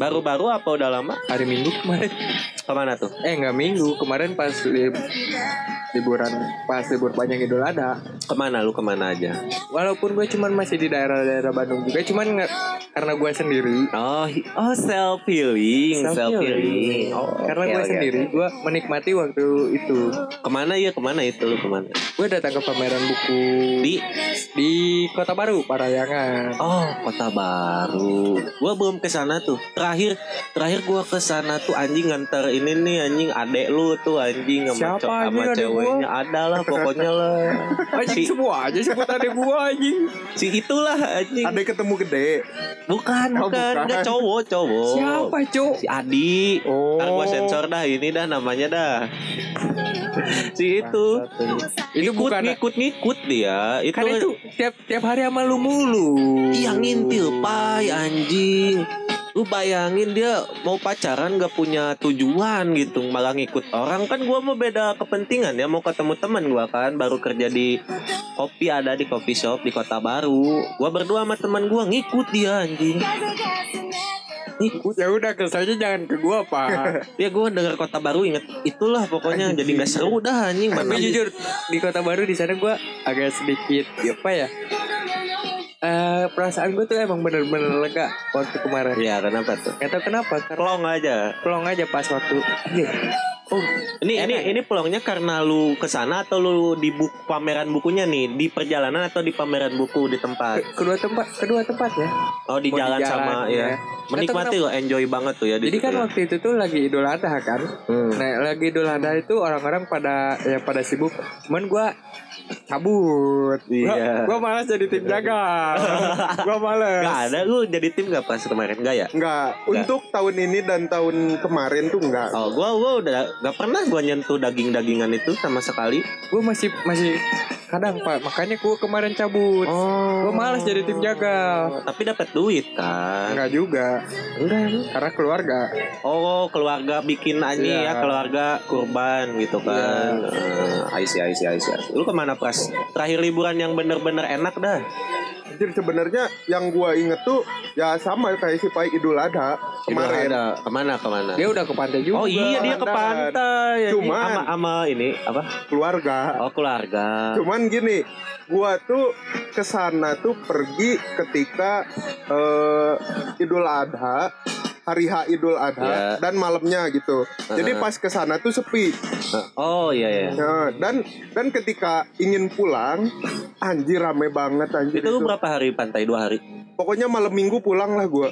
baru-baru apa udah lama
Hari Minggu kemarin.
kemana tuh
Eh nggak Minggu, kemarin pas lib- liburan pas libur panjang Idul Adha.
kemana lu kemana aja
Walaupun gue cuman masih di daerah-daerah Bandung juga, cuman nggak karena gue sendiri.
oh hi- oh self healing self healing oh,
karena
oke,
gue
oke,
sendiri,
oke.
gue menikmati waktu itu.
kemana ya kemana itu lu kemana
Gue datang ke pameran buku di
di
di Kota Baru, Parayangan.
Oh, kota baru. Gua belum ke sana tuh. Terakhir terakhir gua ke sana tuh anjing nganter ini nih anjing adek lu tuh anjing
Siapa
sama co- sama
anjing adek
ceweknya ada lah pokoknya lah.
Anjing
si,
semua aja sebut adek gue anjing.
si itulah anjing.
Ada ketemu gede.
Bukan,
Oh,
bukan,
bukan.
Nggak, cowok, cowok.
Siapa cuk?
Si Adi.
Oh.
Ntar gua sensor dah ini dah namanya dah. si itu.
Itu
Ngikut,
bukan
ngikut, ngikut dia. Itu
kan itu tiap tiap hari sama lu mulu.
Iya ngintil pai anjing Lu bayangin dia mau pacaran gak punya tujuan gitu Malah ngikut orang Kan gua mau beda kepentingan ya Mau ketemu teman gua kan Baru kerja di kopi ada di coffee shop di kota baru Gua berdua sama teman gua ngikut dia anjing Ngikut
Ya udah kesannya jangan ke gua, Pak.
Ya gua denger kota baru inget Itulah pokoknya Jadi gak seru dah anjing
Tapi
Mana-
jujur di Kota Baru di sana gua agak sedikit ya apa ya? Eh perasaan gua tuh emang bener-bener lega waktu kemarin.
Ya kenapa tuh
Gak tau kenapa karena
Kelong aja
pelong aja pas waktu. Iya. Oh,
Ini ini
Enak.
ini peluangnya karena lu kesana atau lu di buku pameran bukunya nih di perjalanan atau di pameran buku di tempat
ke- kedua tempat, kedua tempat ya.
oh di
Mau di
jalan,
jalan,
sama ya,
ya.
menikmati loh enjoy banget tuh ya di
Jadi
situ
kan
ya.
waktu itu tuh lagi Idul Adha kan.
Hmm.
Nah, lagi Idul Adha itu orang-orang pada ya pada sibuk. Cuman gua cabut. Gua-
Iya.
Gua, malas jadi tim jaga. gua malas.
Nggak ada lu jadi tim gak pas kemarin gak ya
Enggak. Untuk tahun ini dan tahun kemarin tuh enggak.
Oh gua gua udah gak pernah gua nyentuh daging-dagingan itu sama sekali
Gue masih masih kadang Pak, makanya gua kemarin cabut.
Oh
Gua malas jadi tim jaga.
Tapi dapat duit kan
Enggak juga.
Enggak
Karena keluarga.
Oh keluarga bikin aja ya
Iya.
Keluarga kurban gitu kan Eh, I see, I see, I see. Lu kemana Pras? Terakhir liburan yang bener-bener enak dah
Jadi sebenarnya yang gua inget tuh ya sama kayak si Pai Idul Adha kemarin.
Ada kemana kemana?
Dia udah ke pantai juga.
oh iya dia ke
Pantai.
pantai. Iya, Ini
Cuman-
ama ama ini apa?
Keluarga.
Oh keluarga.
Cuman gini, gua tuh kesana tuh pergi ketika eh, Idul Adha, hari H Idul Adha
Ya.
dan malamnya gitu. Jadi pas kesana tuh sepi.
Oh iya iya.
Nah, dan dan ketika ingin pulang, anjir rame banget anjir
Itu
itu.
lu berapa hari pantai? Dua hari.
Pokoknya malam Minggu pulang lah gua.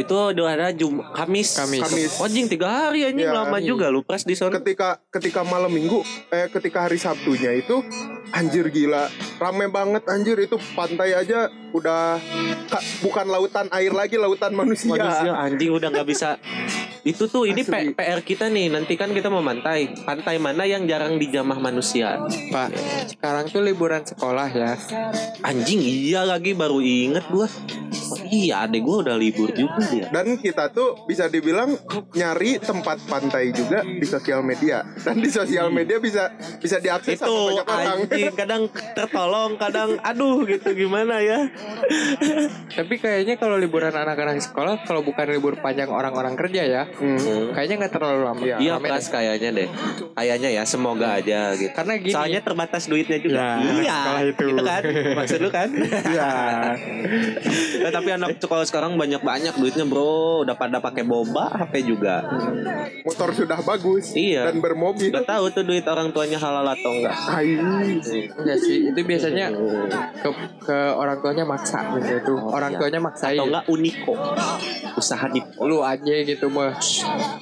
Itu dua hari Jum Kamis.
Kamis.
Kamis.
Oh, Anjing tiga hari anjing
Iya.
lama juga lu pres di sana.
Ketika ketika malam Minggu eh ketika hari Sabtunya itu anjir gila. Rame banget anjir itu pantai aja udah ka- bukan lautan air lagi,
Iya.
lautan
Manusia anjing udah nggak bisa. Itu tuh ini P-
Asli.
PR kita nih. Nanti kan kita mau pantai. Pantai mana yang jarang dijamah manusia?
Pak, sekarang tuh liburan sekolah ya.
Anjing iya lagi baru inget gua. Oh, iya, adek gua udah libur juga dia.
dan kita tuh bisa dibilang nyari tempat pantai juga di sosial media dan di sosial media bisa bisa diakses
Hmm. itu
sama banyak orang
anjing kadang tertolong kadang aduh gitu gimana ya
Tapi kayaknya kalau liburan anak-anak sekolah kalau bukan libur panjang orang-orang kerja ya, kayaknya nggak terlalu lama.
Iya.
Hmm. iya
Rame
kelas kayaknya deh kayaknya ya semoga aja gitu
Karena gini. Nah,
soalnya terbatas duitnya juga Iya, gitu
Ya, sekolah itu.
kan maksud lu kan
Iya.
Nah, tapi anak kalau sekarang banyak banyak duitnya bro, udah pada pakai boba, HP juga.
motor sudah bagus
Iya.
dan bermobil
Gak tahu tuh duit orang tuanya halal atau enggak.
Hai.
Enggak sih, itu biasanya
Iya,
ke, ke orang tuanya maksa gitu itu. orang
iya.
tuanya maksain.
Atau enggak uniko. Usaha di
Lu aja gitu mah.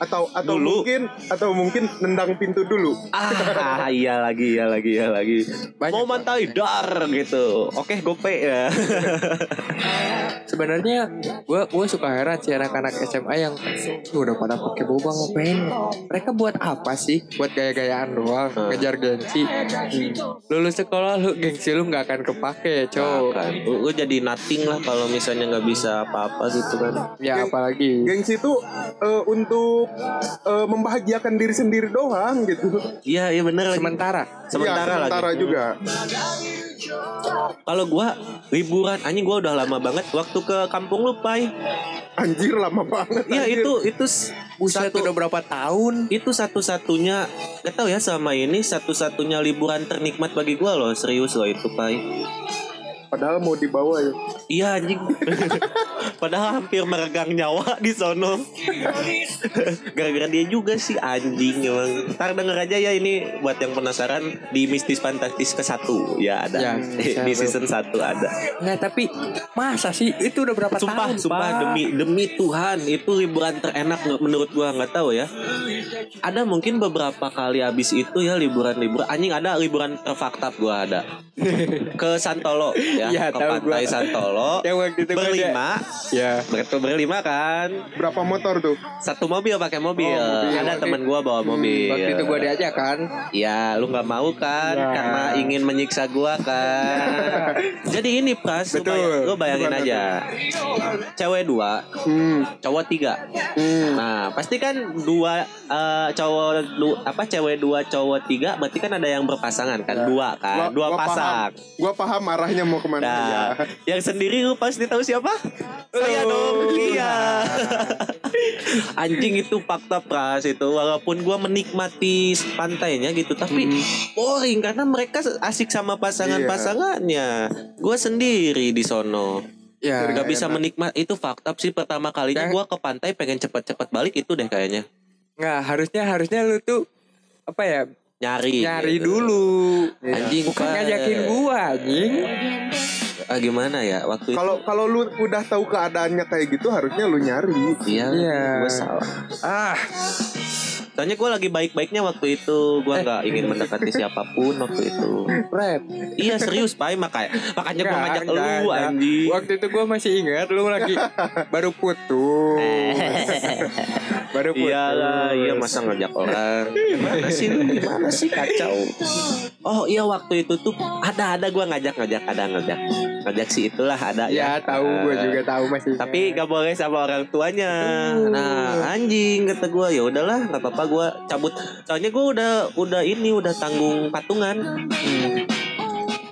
atau atau
Dulu.
mungkin atau mungkin nendang pintu dulu
Ah, iya lagi, iya lagi, iya lagi.
Banyak
Mau mantai dar gitu. Oke, gope ya.
Sebenarnya gua gua suka heran sih anak-anak SMA yang "Lu udah pada pakai boba ngapain? Mereka buat apa sih? Buat gaya-gayaan doang,
Hmm.
ngejar gengsi. Hmm. Lulus sekolah lu gengsi lu nggak akan kepake, cow.
Kan, lu lu jadi nothing lah kalau misalnya nggak bisa apa-apa gitu kan.
Ya apalagi
gengsi itu eh, untuk eh, membahagiakan diri sendiri doang gitu
Iya, iya bener lagi.
sementara.
Sementara, gitu.
Iya, sementara
lagi.
juga
Kalau gua liburan, anjing gua udah lama banget waktu ke kampung lu, Pai.
anjir lama banget
Iya,
anjir.
itu itu s-
Buset
satu-
udah berapa tahun?
itu satu-satunya gak tau ya selama ini satu-satunya liburan ternikmat bagi gua loh serius loh itu pai
padahal mau dibawa ya
iya anjing padahal hampir meregang nyawa di sono gara-gara dia juga sih anjing emang ntar denger aja ya ini buat yang penasaran di mistis fantastis ke satu ya ada
Ya,
di season satu ada
Nggak, tapi masa sih itu udah berapa tahun?
sumpah sumpah
Pak?
demi demi Tuhan itu liburan terenak nggak- menurut gua nggak tahu ya ada mungkin beberapa kali habis itu ya liburan liburan anjing ada liburan terfaktab gua ada ke Santolo ya,
Iya,
ke
tahu
pantai
gua.
Santolo
Yang waktu itu gua ada-
berlima
Ya.
Betul berlima kan
berapa motor tuh
Satu mobil pakai mobil.
Oh,
Ada
mobil.
Waktu- Hmm,
teman gua bawa mobil
Waktu itu gua Iya. diajak kan.
Ya lu gak mau kan Karena ingin menyiksa gua kan Jadi ini Pras lu,
Betul.
bayang- lu bayangin
Gimana
aja Cewek dua
hmm.
cowok tiga. Nah, pasti kan dua eh, cowok du- apa cewek dua cowok tiga berarti kan ada yang berpasangan kan dua kan dua pasang.
paham. gua paham arahnya mau kemana ya.
Nah, yang sendiri lu pasti tahu siapa? Saya dong. Iya. Anjing itu fakta pras itu walaupun gua menikmati pantainya gitu tapi boring karena mereka asik sama pasangan-pasangannya. Gua sendiri di sono.
Ya.
Gak
Iya,
bisa menikmati itu fakta sih pertama kalinya
Kayak-
gua ke pantai pengen cepet-cepet balik itu deh kayaknya
Nggak, harusnya harusnya lu tuh apa ya
nyari
nyari
gitu.
dulu
Anjing,
bukan
Pak.
ngajakin gua anjing
Ah, gimana ya waktu
kalau kalau lu udah tahu keadaannya kayak gitu harusnya lu nyari
itu iya
Iya.
gua salah
ah
soalnya gua lagi baik-baiknya waktu
Eh.
itu gua nggak ingin mendekati siapapun waktu itu
Fred
iya serius pai makanya makanya gua
Nggak,
ngajak
nggak,
lu
nggak.
anjing
waktu itu gua masih ingat lu lagi baru
Eh.
putus baru putus
Iyalah, iya masa ngajak orang. Gimana sih lu? Gimana sih kacau? Oh iya waktu itu tuh ada ada gua ngajak ngajak ada ngajak ngajak si itulah ada
ya tahu gua
Eh,
juga tahu masih ingat.
Tapi gak boleh sama orang tuanya. Nah anjing kata gua ya udahlah nggak apa-apa gua cabut. Soalnya gua udah udah ini udah tanggung patungan. Hmm.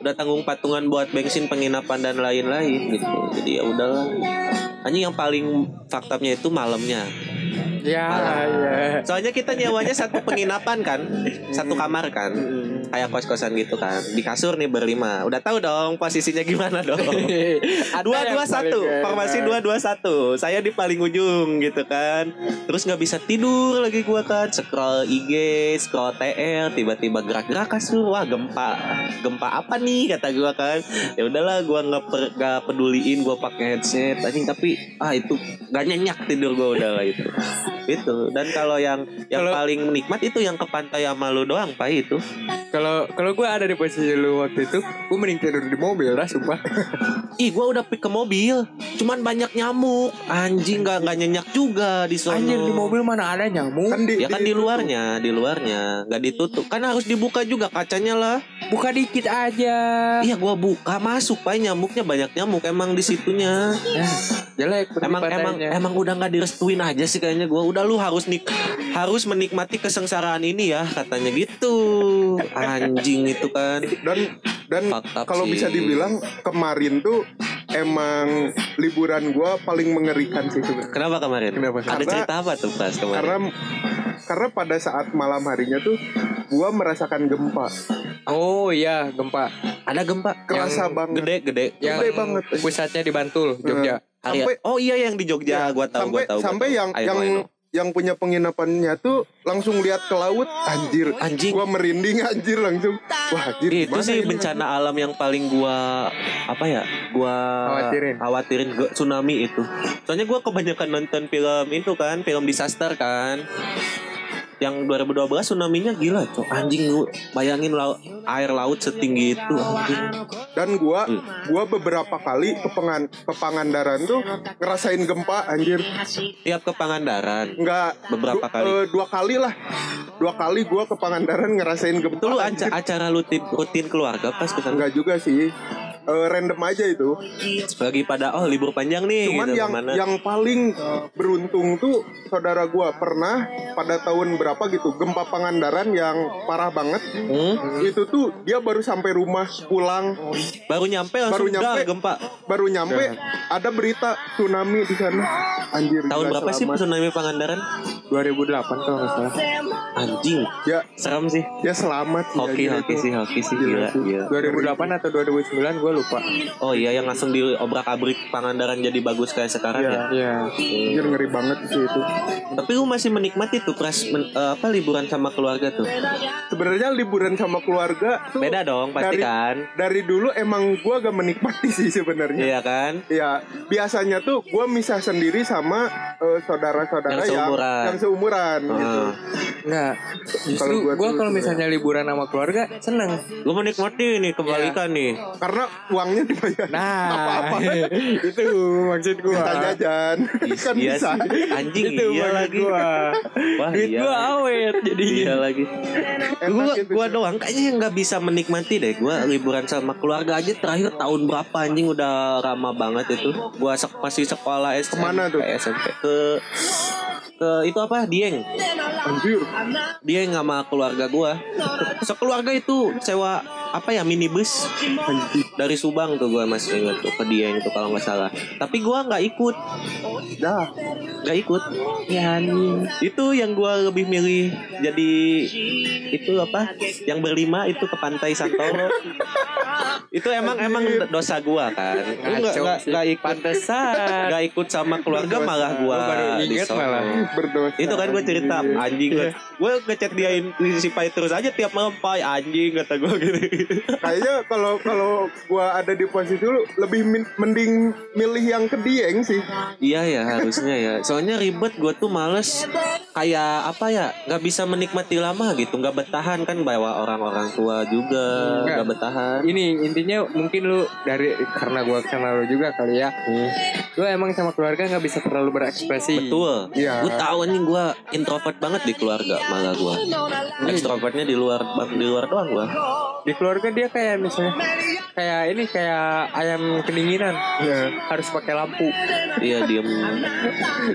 Udah tanggung patungan buat bensin penginapan dan lain-lain gitu. Jadi ya udahlah. Anjing yang paling faktabnya itu malamnya.
ya ya
Soalnya kita nyewanya satu penginapan kan, satu kamar kan, kayak kos kosan gitu kan. Di kasur nih berlima. Udah tahu dong posisinya gimana dong.
Ada
dua
yang
dua satu,
paling enak.
formasi dua dua satu. Saya di paling ujung gitu kan. Terus nggak bisa tidur lagi gua kan, scroll IG, scroll TR, tiba-tiba gerak-gerak kasur, wah gempa, gempa apa nih kata gua kan. Ya udahlah, gua nggak per, nggak peduliin, gua pakai headset. Anjing tapi ah itu nggak nyenyak tidur gua udah lah itu itu dan kalau yang yang
Kalau-
paling nikmat itu yang ke pantai sama lu doang pak itu
kalau kalau gua ada di posisi lu waktu itu gua mending tidur di mobil dah sumpah
ih gua udah pi- ke mobil cuman banyak nyamuk anjing nggak nggak nyenyak juga di sono
anjir di mobil mana ada nyamuk
kan di,
ya kan di luarnya di luarnya nggak ditutup kan harus dibuka juga kacanya lah
buka dikit aja
iya gua buka masuk pak nyamuknya banyak nyamuk emang di situnya
Ya, jelek
emang emang
pantainya.
emang udah nggak direstuin aja sih kayaknya gua udah lu harus nik harus menikmati kesengsaraan ini ya katanya gitu anjing itu kan
dan dan
Fakta
kalau
sih.
bisa dibilang kemarin tuh emang liburan gua paling mengerikan sih sebenarnya
Kenapa kemarin?
Kenapa?
Ada
Karena-
cerita apa tuh pas kemarin?
karena karena pada saat malam harinya tuh gua merasakan gempa
oh iya gempa
ada gempa
kerasa banget
gede gede.
yang
Gede banget. Hmm.
pusatnya di Bantul Jogja
Arya-
Sampai-
oh iya yang di Jogja,
Ya,
gua tahu,
sampai
gua tahu. gua
sampai
tahu.
yang
I know,
yang
I know.
yang punya penginapannya tuh langsung lihat ke laut anjir
Anjing.
gua merinding anjir langsung wah
itu
anjir gimana
sih
ini?
bencana alam yang paling gua apa ya gua
Khawatirin.
khawatirin gua- tsunami itu soalnya gua kebanyakan nonton film itu kan film disaster kan yang 2012 tsunami-nya gila tuh anjing lu bayangin lau- air laut setinggi itu anjing
dan gua
Hmm.
gua beberapa kali ke pengan ke Pangandaran tuh ngerasain gempa anjir
tiap ke Pangandaran
nggak
Beberapa
du-
kali.
eh, dua kali lah dua kali gua ke Pangandaran ngerasain gempa
itu lu
anjir.
aca- acara rutin, rutin keluarga pas ke sana
nggak juga sih Eh, random aja itu
lagi pada oh libur panjang nih
Cuman
gitu,
yang
kemana.
yang paling beruntung tuh saudara gua pernah pada tahun berapa gitu gempa Pangandaran yang parah banget.
Hmm?
Itu tuh dia baru sampai rumah pulang,
baru nyampe langsung
baru nyampe
dar gempa Iya.
baru nyampe ada berita tsunami di sana. Anjir.
tahun
gila,
berapa sih
selamat.
tsunami Pangandaran
2008 kalau nggak salah. Iya,
anjing
Ya,
serem sih
ya selamat. ya,
hoki
gitu.
hoki sih hoki sih
Gila
gila,
sih.
gila.
2008 atau 2009 gue lupa.
Oh iya yang langsung diobrak abrik Pangandaran jadi bagus kayak
Iya.
sekarang
Ya,
ya.
ya. Anjir ngeri banget sih itu.
Tapi lu masih menikmati tuh pres men- eh, apa liburan sama keluarga tuh.
Sebenarnya liburan sama keluarga tuh
Beda dong pasti
dari-
kan.
Dari dulu emang gua gak menikmati sih sebenarnya.
Iya kan?
Ya, biasanya tuh gue misah sendiri sama eh, saudara-saudara
Yang seumuran. Ah.
yang, yang seumuran
Iya
gitu.
Heeh.
Enggak. Justru
Kalau gua
gue
tuh
kalau
gitu
misalnya liburan sama keluarga seneng.
Lu menikmati nih kebalikan
Iya.
nih.
Karena uangnya dibayar.
Nah,
apa-apa.
itu maksud gue.
Kita jajan. kan
iya
bisa.
sih. Anjing
Itu
iya
maksud
lagi.
gua.
Wah,
Duit
iya
gue
lagi.
awet jadi.
Iya lagi.
Enak
Gua,
gitu
gua
sih.
doang kayaknya yang nggak bisa menikmati deh. Gua liburan sama keluarga aja terakhir tahun berapa anjing udah lama banget itu. Gua sek masih sekolah SMP.
Kemana tuh?
SMP ke ke itu apa? Dieng.
Anjir.
dia yang sama keluarga gua sekeluarga itu sewa apa ya minibus dari Subang tuh gua masih ingat tuh ke dia itu kalau nggak salah tapi gua nggak ikut
Dah.
nggak ikut ya anjing. itu yang gua lebih milih jadi itu apa yang berlima itu ke pantai Santoro itu emang emang dosa gua kan Lu nggak nggak nggak ikut nggak ikut sama keluarga
Berdosa.
malah gua
Lu baru
di
ingat
sono.
malah.
Berdosa. Iya,
Itu kan gue cerita anjing Gue ngechat dia in- si Pai terus aja tiap malam Pai anjing kata gue gitu.
Kayaknya kalau kalau gue ada di posisi lu lebih min- mending milih yang ke Dieng sih.
Iya ya harusnya ya. Soalnya ribet gue tuh males kayak apa ya nggak bisa menikmati lama gitu nggak bertahan kan bawa orang-orang tua juga
Nggak.
nggak bertahan.
Ini intinya mungkin lu dari karena gue kenal lu juga kali ya. Lu emang sama keluarga nggak bisa terlalu berekspresi.
Betul.
Iya.
Gue tahu anjing gue introvert banget di keluarga malah gue. Ekstrovertnya di luar di luar doang gue.
Di keluarga dia kayak misalnya kayak ini kayak ayam kedinginan
Ya.
harus pakai lampu.
Iya diem.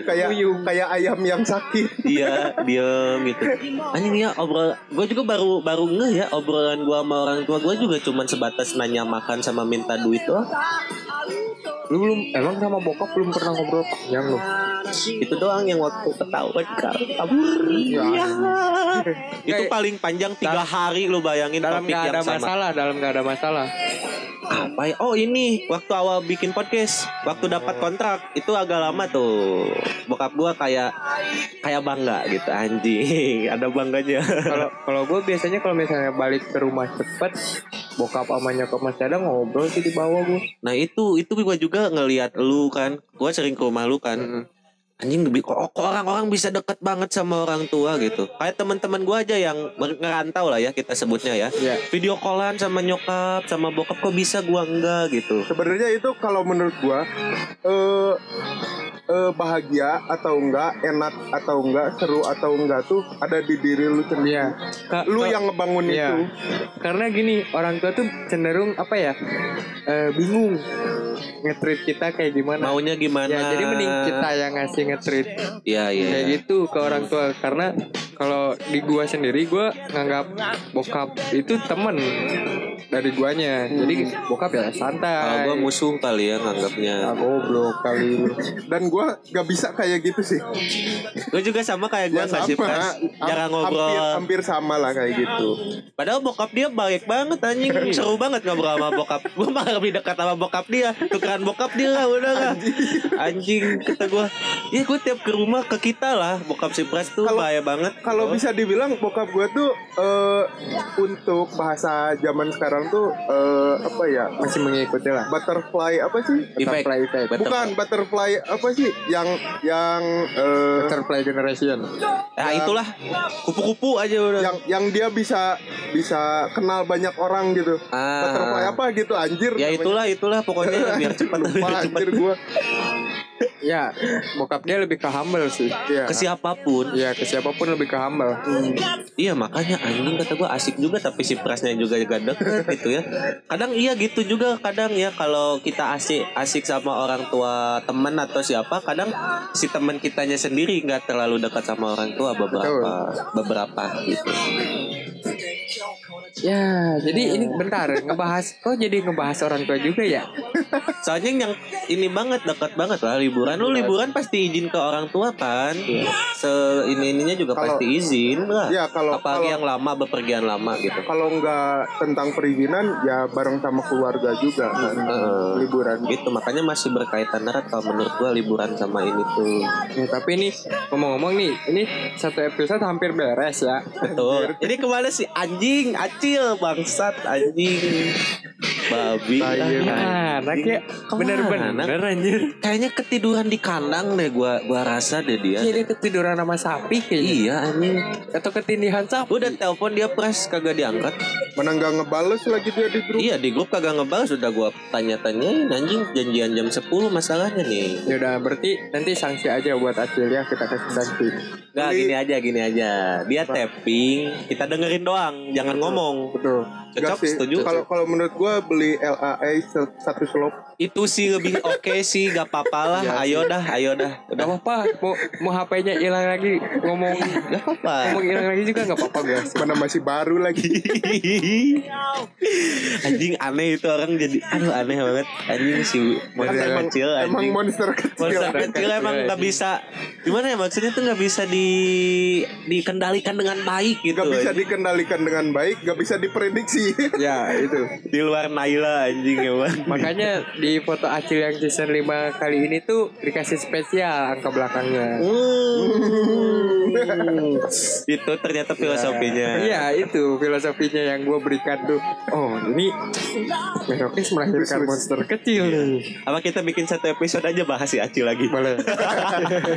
Kayak kayak ayam yang sakit.
Iya diem gitu Anjing ya obrol Gue juga baru baru ngeh ya Obrolan gue sama orang tua gue juga cuman sebatas nanya makan sama minta duit doang
Lu belum emang sama bokap belum pernah ngobrol panjang lu.
Itu doang yang waktu ketahuan kar- kabur
Iya.
ya. Itu paling panjang tiga hari lu bayangin
Dalam
topik
nggak ada
yang sama
masalah, dalam nggak ada masalah.
Apa ya? Oh ini waktu awal bikin podcast
Oh.
Waktu dapat kontrak Itu agak lama tuh Bokap gue kayak Kayak bangga gitu anjing Ada bangganya
kalau kalau gue biasanya kalau misalnya balik ke rumah cepet bokap sama nyokap masih ada ngobrol sih di bawah gue
Nah itu itu gue juga ngelihat lu kan, gue sering ke rumah lu kan. Anjing lebih kok kok orang-orang bisa deket banget sama orang tua gitu. Kayak teman-teman gue aja yang mer- ngerantau lah ya kita sebutnya ya.
Iya.
Video callan sama nyokap, sama bokap kok bisa gua enggak gitu.
Sebenarnya itu kalau menurut gua eh eh, bahagia atau enggak, enak atau enggak, seru atau enggak tuh ada di diri lu sendiri.
Iya. Ka-
Lu
ka-
yang ngebangun
Iya.
itu.
karena gini orang tua tuh cenderung apa ya eh, bingung ngetrit kita kayak gimana
Maunya gimana?
ya jadi mending kita yang ngasih ngetrit
Iya iya.
kayak gitu ke orang tua karena kalau di gua sendiri gua nganggap bokap itu temen dari guanya jadi bokap ya
Kalau
santai
gue musuh kali ya nganggapnya.
Ah, goblok kali lu. Dan gua gak bisa kayak gitu sih.
Iya.
Gue juga sama kayak gue
Ya,
nggak sih
sama.
pres.
Ha-
Jarang
Hampir,
ngobrol.
hampir sama lah kayak gitu.
Padahal bokap dia baik banget anjing
Iya.
Seru banget ngobrol sama bokap Gue malah lebih dekat sama bokap dia Tukeran bokap dia lah udah lah Anjing kata gue Ya gue tiap ke rumah ke kita lah Bokap si Pres tuh
Kalau-
bahaya banget
Kalau bisa dibilang bokap gua tuh eh, untuk bahasa zaman sekarang tuh eh, apa ya?
masih mengikuti lah
Butterfly apa sih?
butterfly effect
Butterfly.
Bukan butterfly apa sih yang yang eh,
butterfly generation
Nah itulah Kupu-kupu aja udah
yang yang dia bisa bisa kenal banyak orang gitu.
Ah.
Butterfly apa gitu anjir.
Ya
namanya.
itulah itulah pokoknya biar cepat
Lupa
biar cepat
anjir gua.
ya bokap dia lebih ke humble sih
Iya.
ke siapapun
ya ke siapapun lebih ke humble
iya makanya anjing kata gue asik juga tapi si presnya juga gak deket gitu ya kadang iya gitu juga kadang ya kalau kita asik asik sama orang tua teman atau siapa kadang si teman kitanya sendiri nggak terlalu dekat sama orang tua beberapa beberapa gitu
ya jadi ini bentar ngebahas kok jadi ngebahas orang tua juga ya
soalnya yang ini banget dekat banget lah liburan lu liburan pasti izin ke orang tua kan se ini ininya juga
Iya. Kalau-
pasti izin lah
Ya, kalau-
apalagi
kalau-
yang lama bepergian lama gitu
Kalau nggak tentang perizinan ya bareng sama keluarga juga kan.
Eh.
Heeh.
liburan.
gitu makanya masih berkaitan erat kalau menurut gua liburan sama ini tuh
Ya, tapi ini ngomong-ngomong nih, ini satu episode hampir beres ya.
betul ini kemana sih anjing acil bangsat anjing babi
Tai,
ah.
iya.
Anak ya, bener-bener anjir.
kayaknya ketiduran di kandang deh gua gua rasa deh dia
Iya dia ketiduran sama sapi kayaknya.
iya anjing
Atau ketindihan sapi.
udah telepon dia pres kagak diangkat
Mana nggak ngebales lagi dia di grup.
iya di grup kagak ngebales udah gua tanya-tanyain anjing janjian jam 10 masalahnya nih
Iya.
Ya udah berarti nanti sanksi aja buat Acil ya kita kasih sanksi.
Nah
Jadi-
gini aja gini aja dia tapping kita dengerin doang jangan ngomong
Betul. Nggak
cocok
sih.
setuju
Kalau kalau menurut gua beli LAA se- satu slop
itu sih lebih oke sih gak apa-apa lah
Iya
ayo dah ayo dah udah
Gak apa-apa, mau, mau HP-nya hilang lagi ngomong
gak apa-apa
ngomong
gitu?
hilang lagi juga gak apa-apa gue.
oh, mana masih baru lagi.
anjing aneh itu orang jadi aduh aneh banget anjing si monster
Kan emang,
kecil
emang
anjing
monster kecil.
monster kecil emang gak bisa gimana ya maksudnya tuh gak bisa di dikendalikan dengan baik gitu
Gak bisa
anjing.
dikendalikan dengan baik, gak bisa diprediksi.
Ya itu.
di luar Naila anjing ya emang
Makanya di foto Acil yang season 5 kali ini tuh dikasih spesial angka belakangnya.
Hmm. itu ternyata filosofinya
Iya itu filosofinya yang gue berikan tuh. Oh ini Merokis melahirkan monster kecil nih.
apa kita bikin satu episode aja bahas si Acil lagi
Boleh.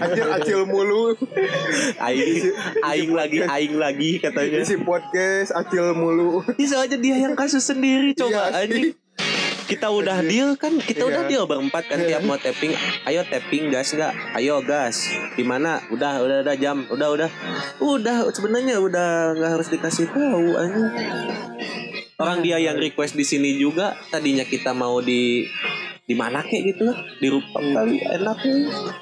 Anjir acil mulu.
aing aing lagi aing lagi katanya
Isi podcast acil mulu.
bisa aja dia yang kasus sendiri coba
Iya sih.
anjing kita udah deal kan kita udah
Iya.
deal berempat kan tiap mau tapping ayo tapping gas nggak ayo gas gimana udah udah udah jam udah udah udah sebenarnya udah nggak harus dikasih tahu anjing orang dia yang request di sini juga tadinya kita mau di di mana kek gitu lah di rooftop kali enak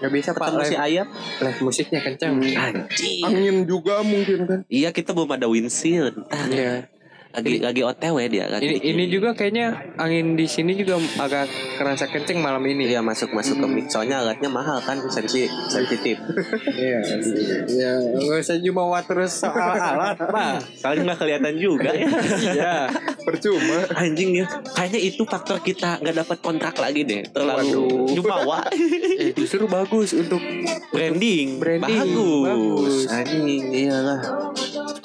Gak bisa pak
ketemu si
live,
ayam
live musiknya kencang.
anjing
Angin juga mungkin kan.
iya kita belum ada windshield Ntar
Iya.
lagi lagi otw dia lagi
Ini ini juga kayaknya angin di sini juga agak kerasa kenceng malam ini.
Iya masuk masuk ke mic soalnya alatnya mahal kan sensi sensitif
Iya. Iya. Gak usah jumawa terus soal alat pak.
soalnya nggak kelihatan juga ya
Iya.
Percuma.
anjing ya kayaknya itu faktor kita nggak dapat kontrak lagi deh terlalu
Waduh.
jumawa
Eh, Justru bagus untuk
branding,
Branding,
bagus,
bagus.
anjing iyalah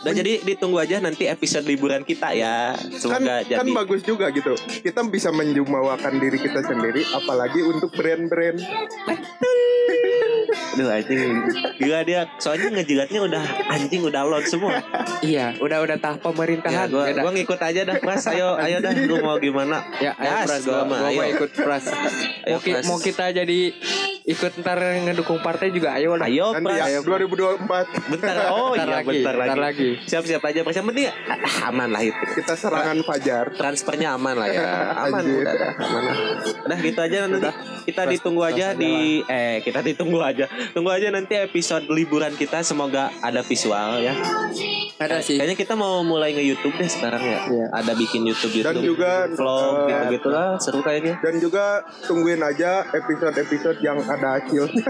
dan jadi ditunggu aja nanti episode liburan kita ya
kan,
semoga jadi
kan bagus juga gitu kita bisa menjumawakan diri kita sendiri apalagi untuk brand-brand
aduh anjing gila dia soalnya ngejilatnya udah anjing udah load semua
iya udah-udah tahap
ya
pemerintahan.
gua,
Beda.
gua ngikut aja dah pras ayo ayo dah lu mau gimana
Ya, ayo
Gas,
Pras,
gua
gua,
mah,
gua mau
ayo.
ikut Pras.
Ayo,
mau, ki-
Pras.
mau kita jadi ikut ntar ngedukung partai juga ayo lah.
Ayo
Nanti
pras
ya 2024
Bentar Oh
Ntar
iya
lagi,
bentar
ntar
lagi
lagi.
Siap-siap aja Pras Yang penting ah, aman lah itu
kita serangan Fajar.
Transfernya aman lah ya Aman
Anjir.
udah dah, aman lah. Udah gitu aja nanti Kita ditunggu aja di Eh kita ditunggu aja Tunggu aja nanti episode liburan kita Semoga ada visual ya
Ada sih.
Kayaknya kita mau mulai nge-youtube deh sekarang ya
Iya.
Ada bikin youtube-youtube
Dan juga,
Vlog
eh,
gitu-gitu lah Seru kayaknya
Dan juga tungguin aja episode-episode yang ada acilnya.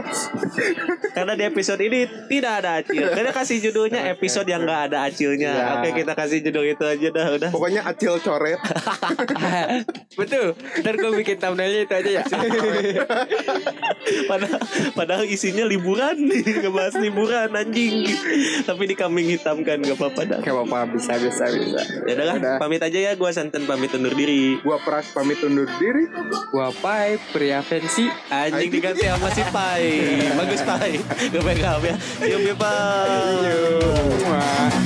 Karena di episode ini tidak ada acil. Karena kasih judulnya episode yang nggak ada acilnya.
Ya.
Oke kita kasih judul itu aja dah udah.
Pokoknya acil coret.
Betul. Ntar gue bikin thumbnailnya itu aja ya.
Padahal, padahal isinya liburan nih, ngebahas liburan anjing. Tapi dikambing hitam kan nggak apa-apa dah.
Gak apa-apa bisa bisa bisa.
Ya udah lah,
Udah.
pamit aja ya. Gua santan pamit undur diri.
Gua Pras pamit undur diri.
Gua pai pria fancy.
Anjing
Anjing.
diganti sama si Pai. Bagus Pai. Gue backup ya. Yuk, yuk Pai.
Wah.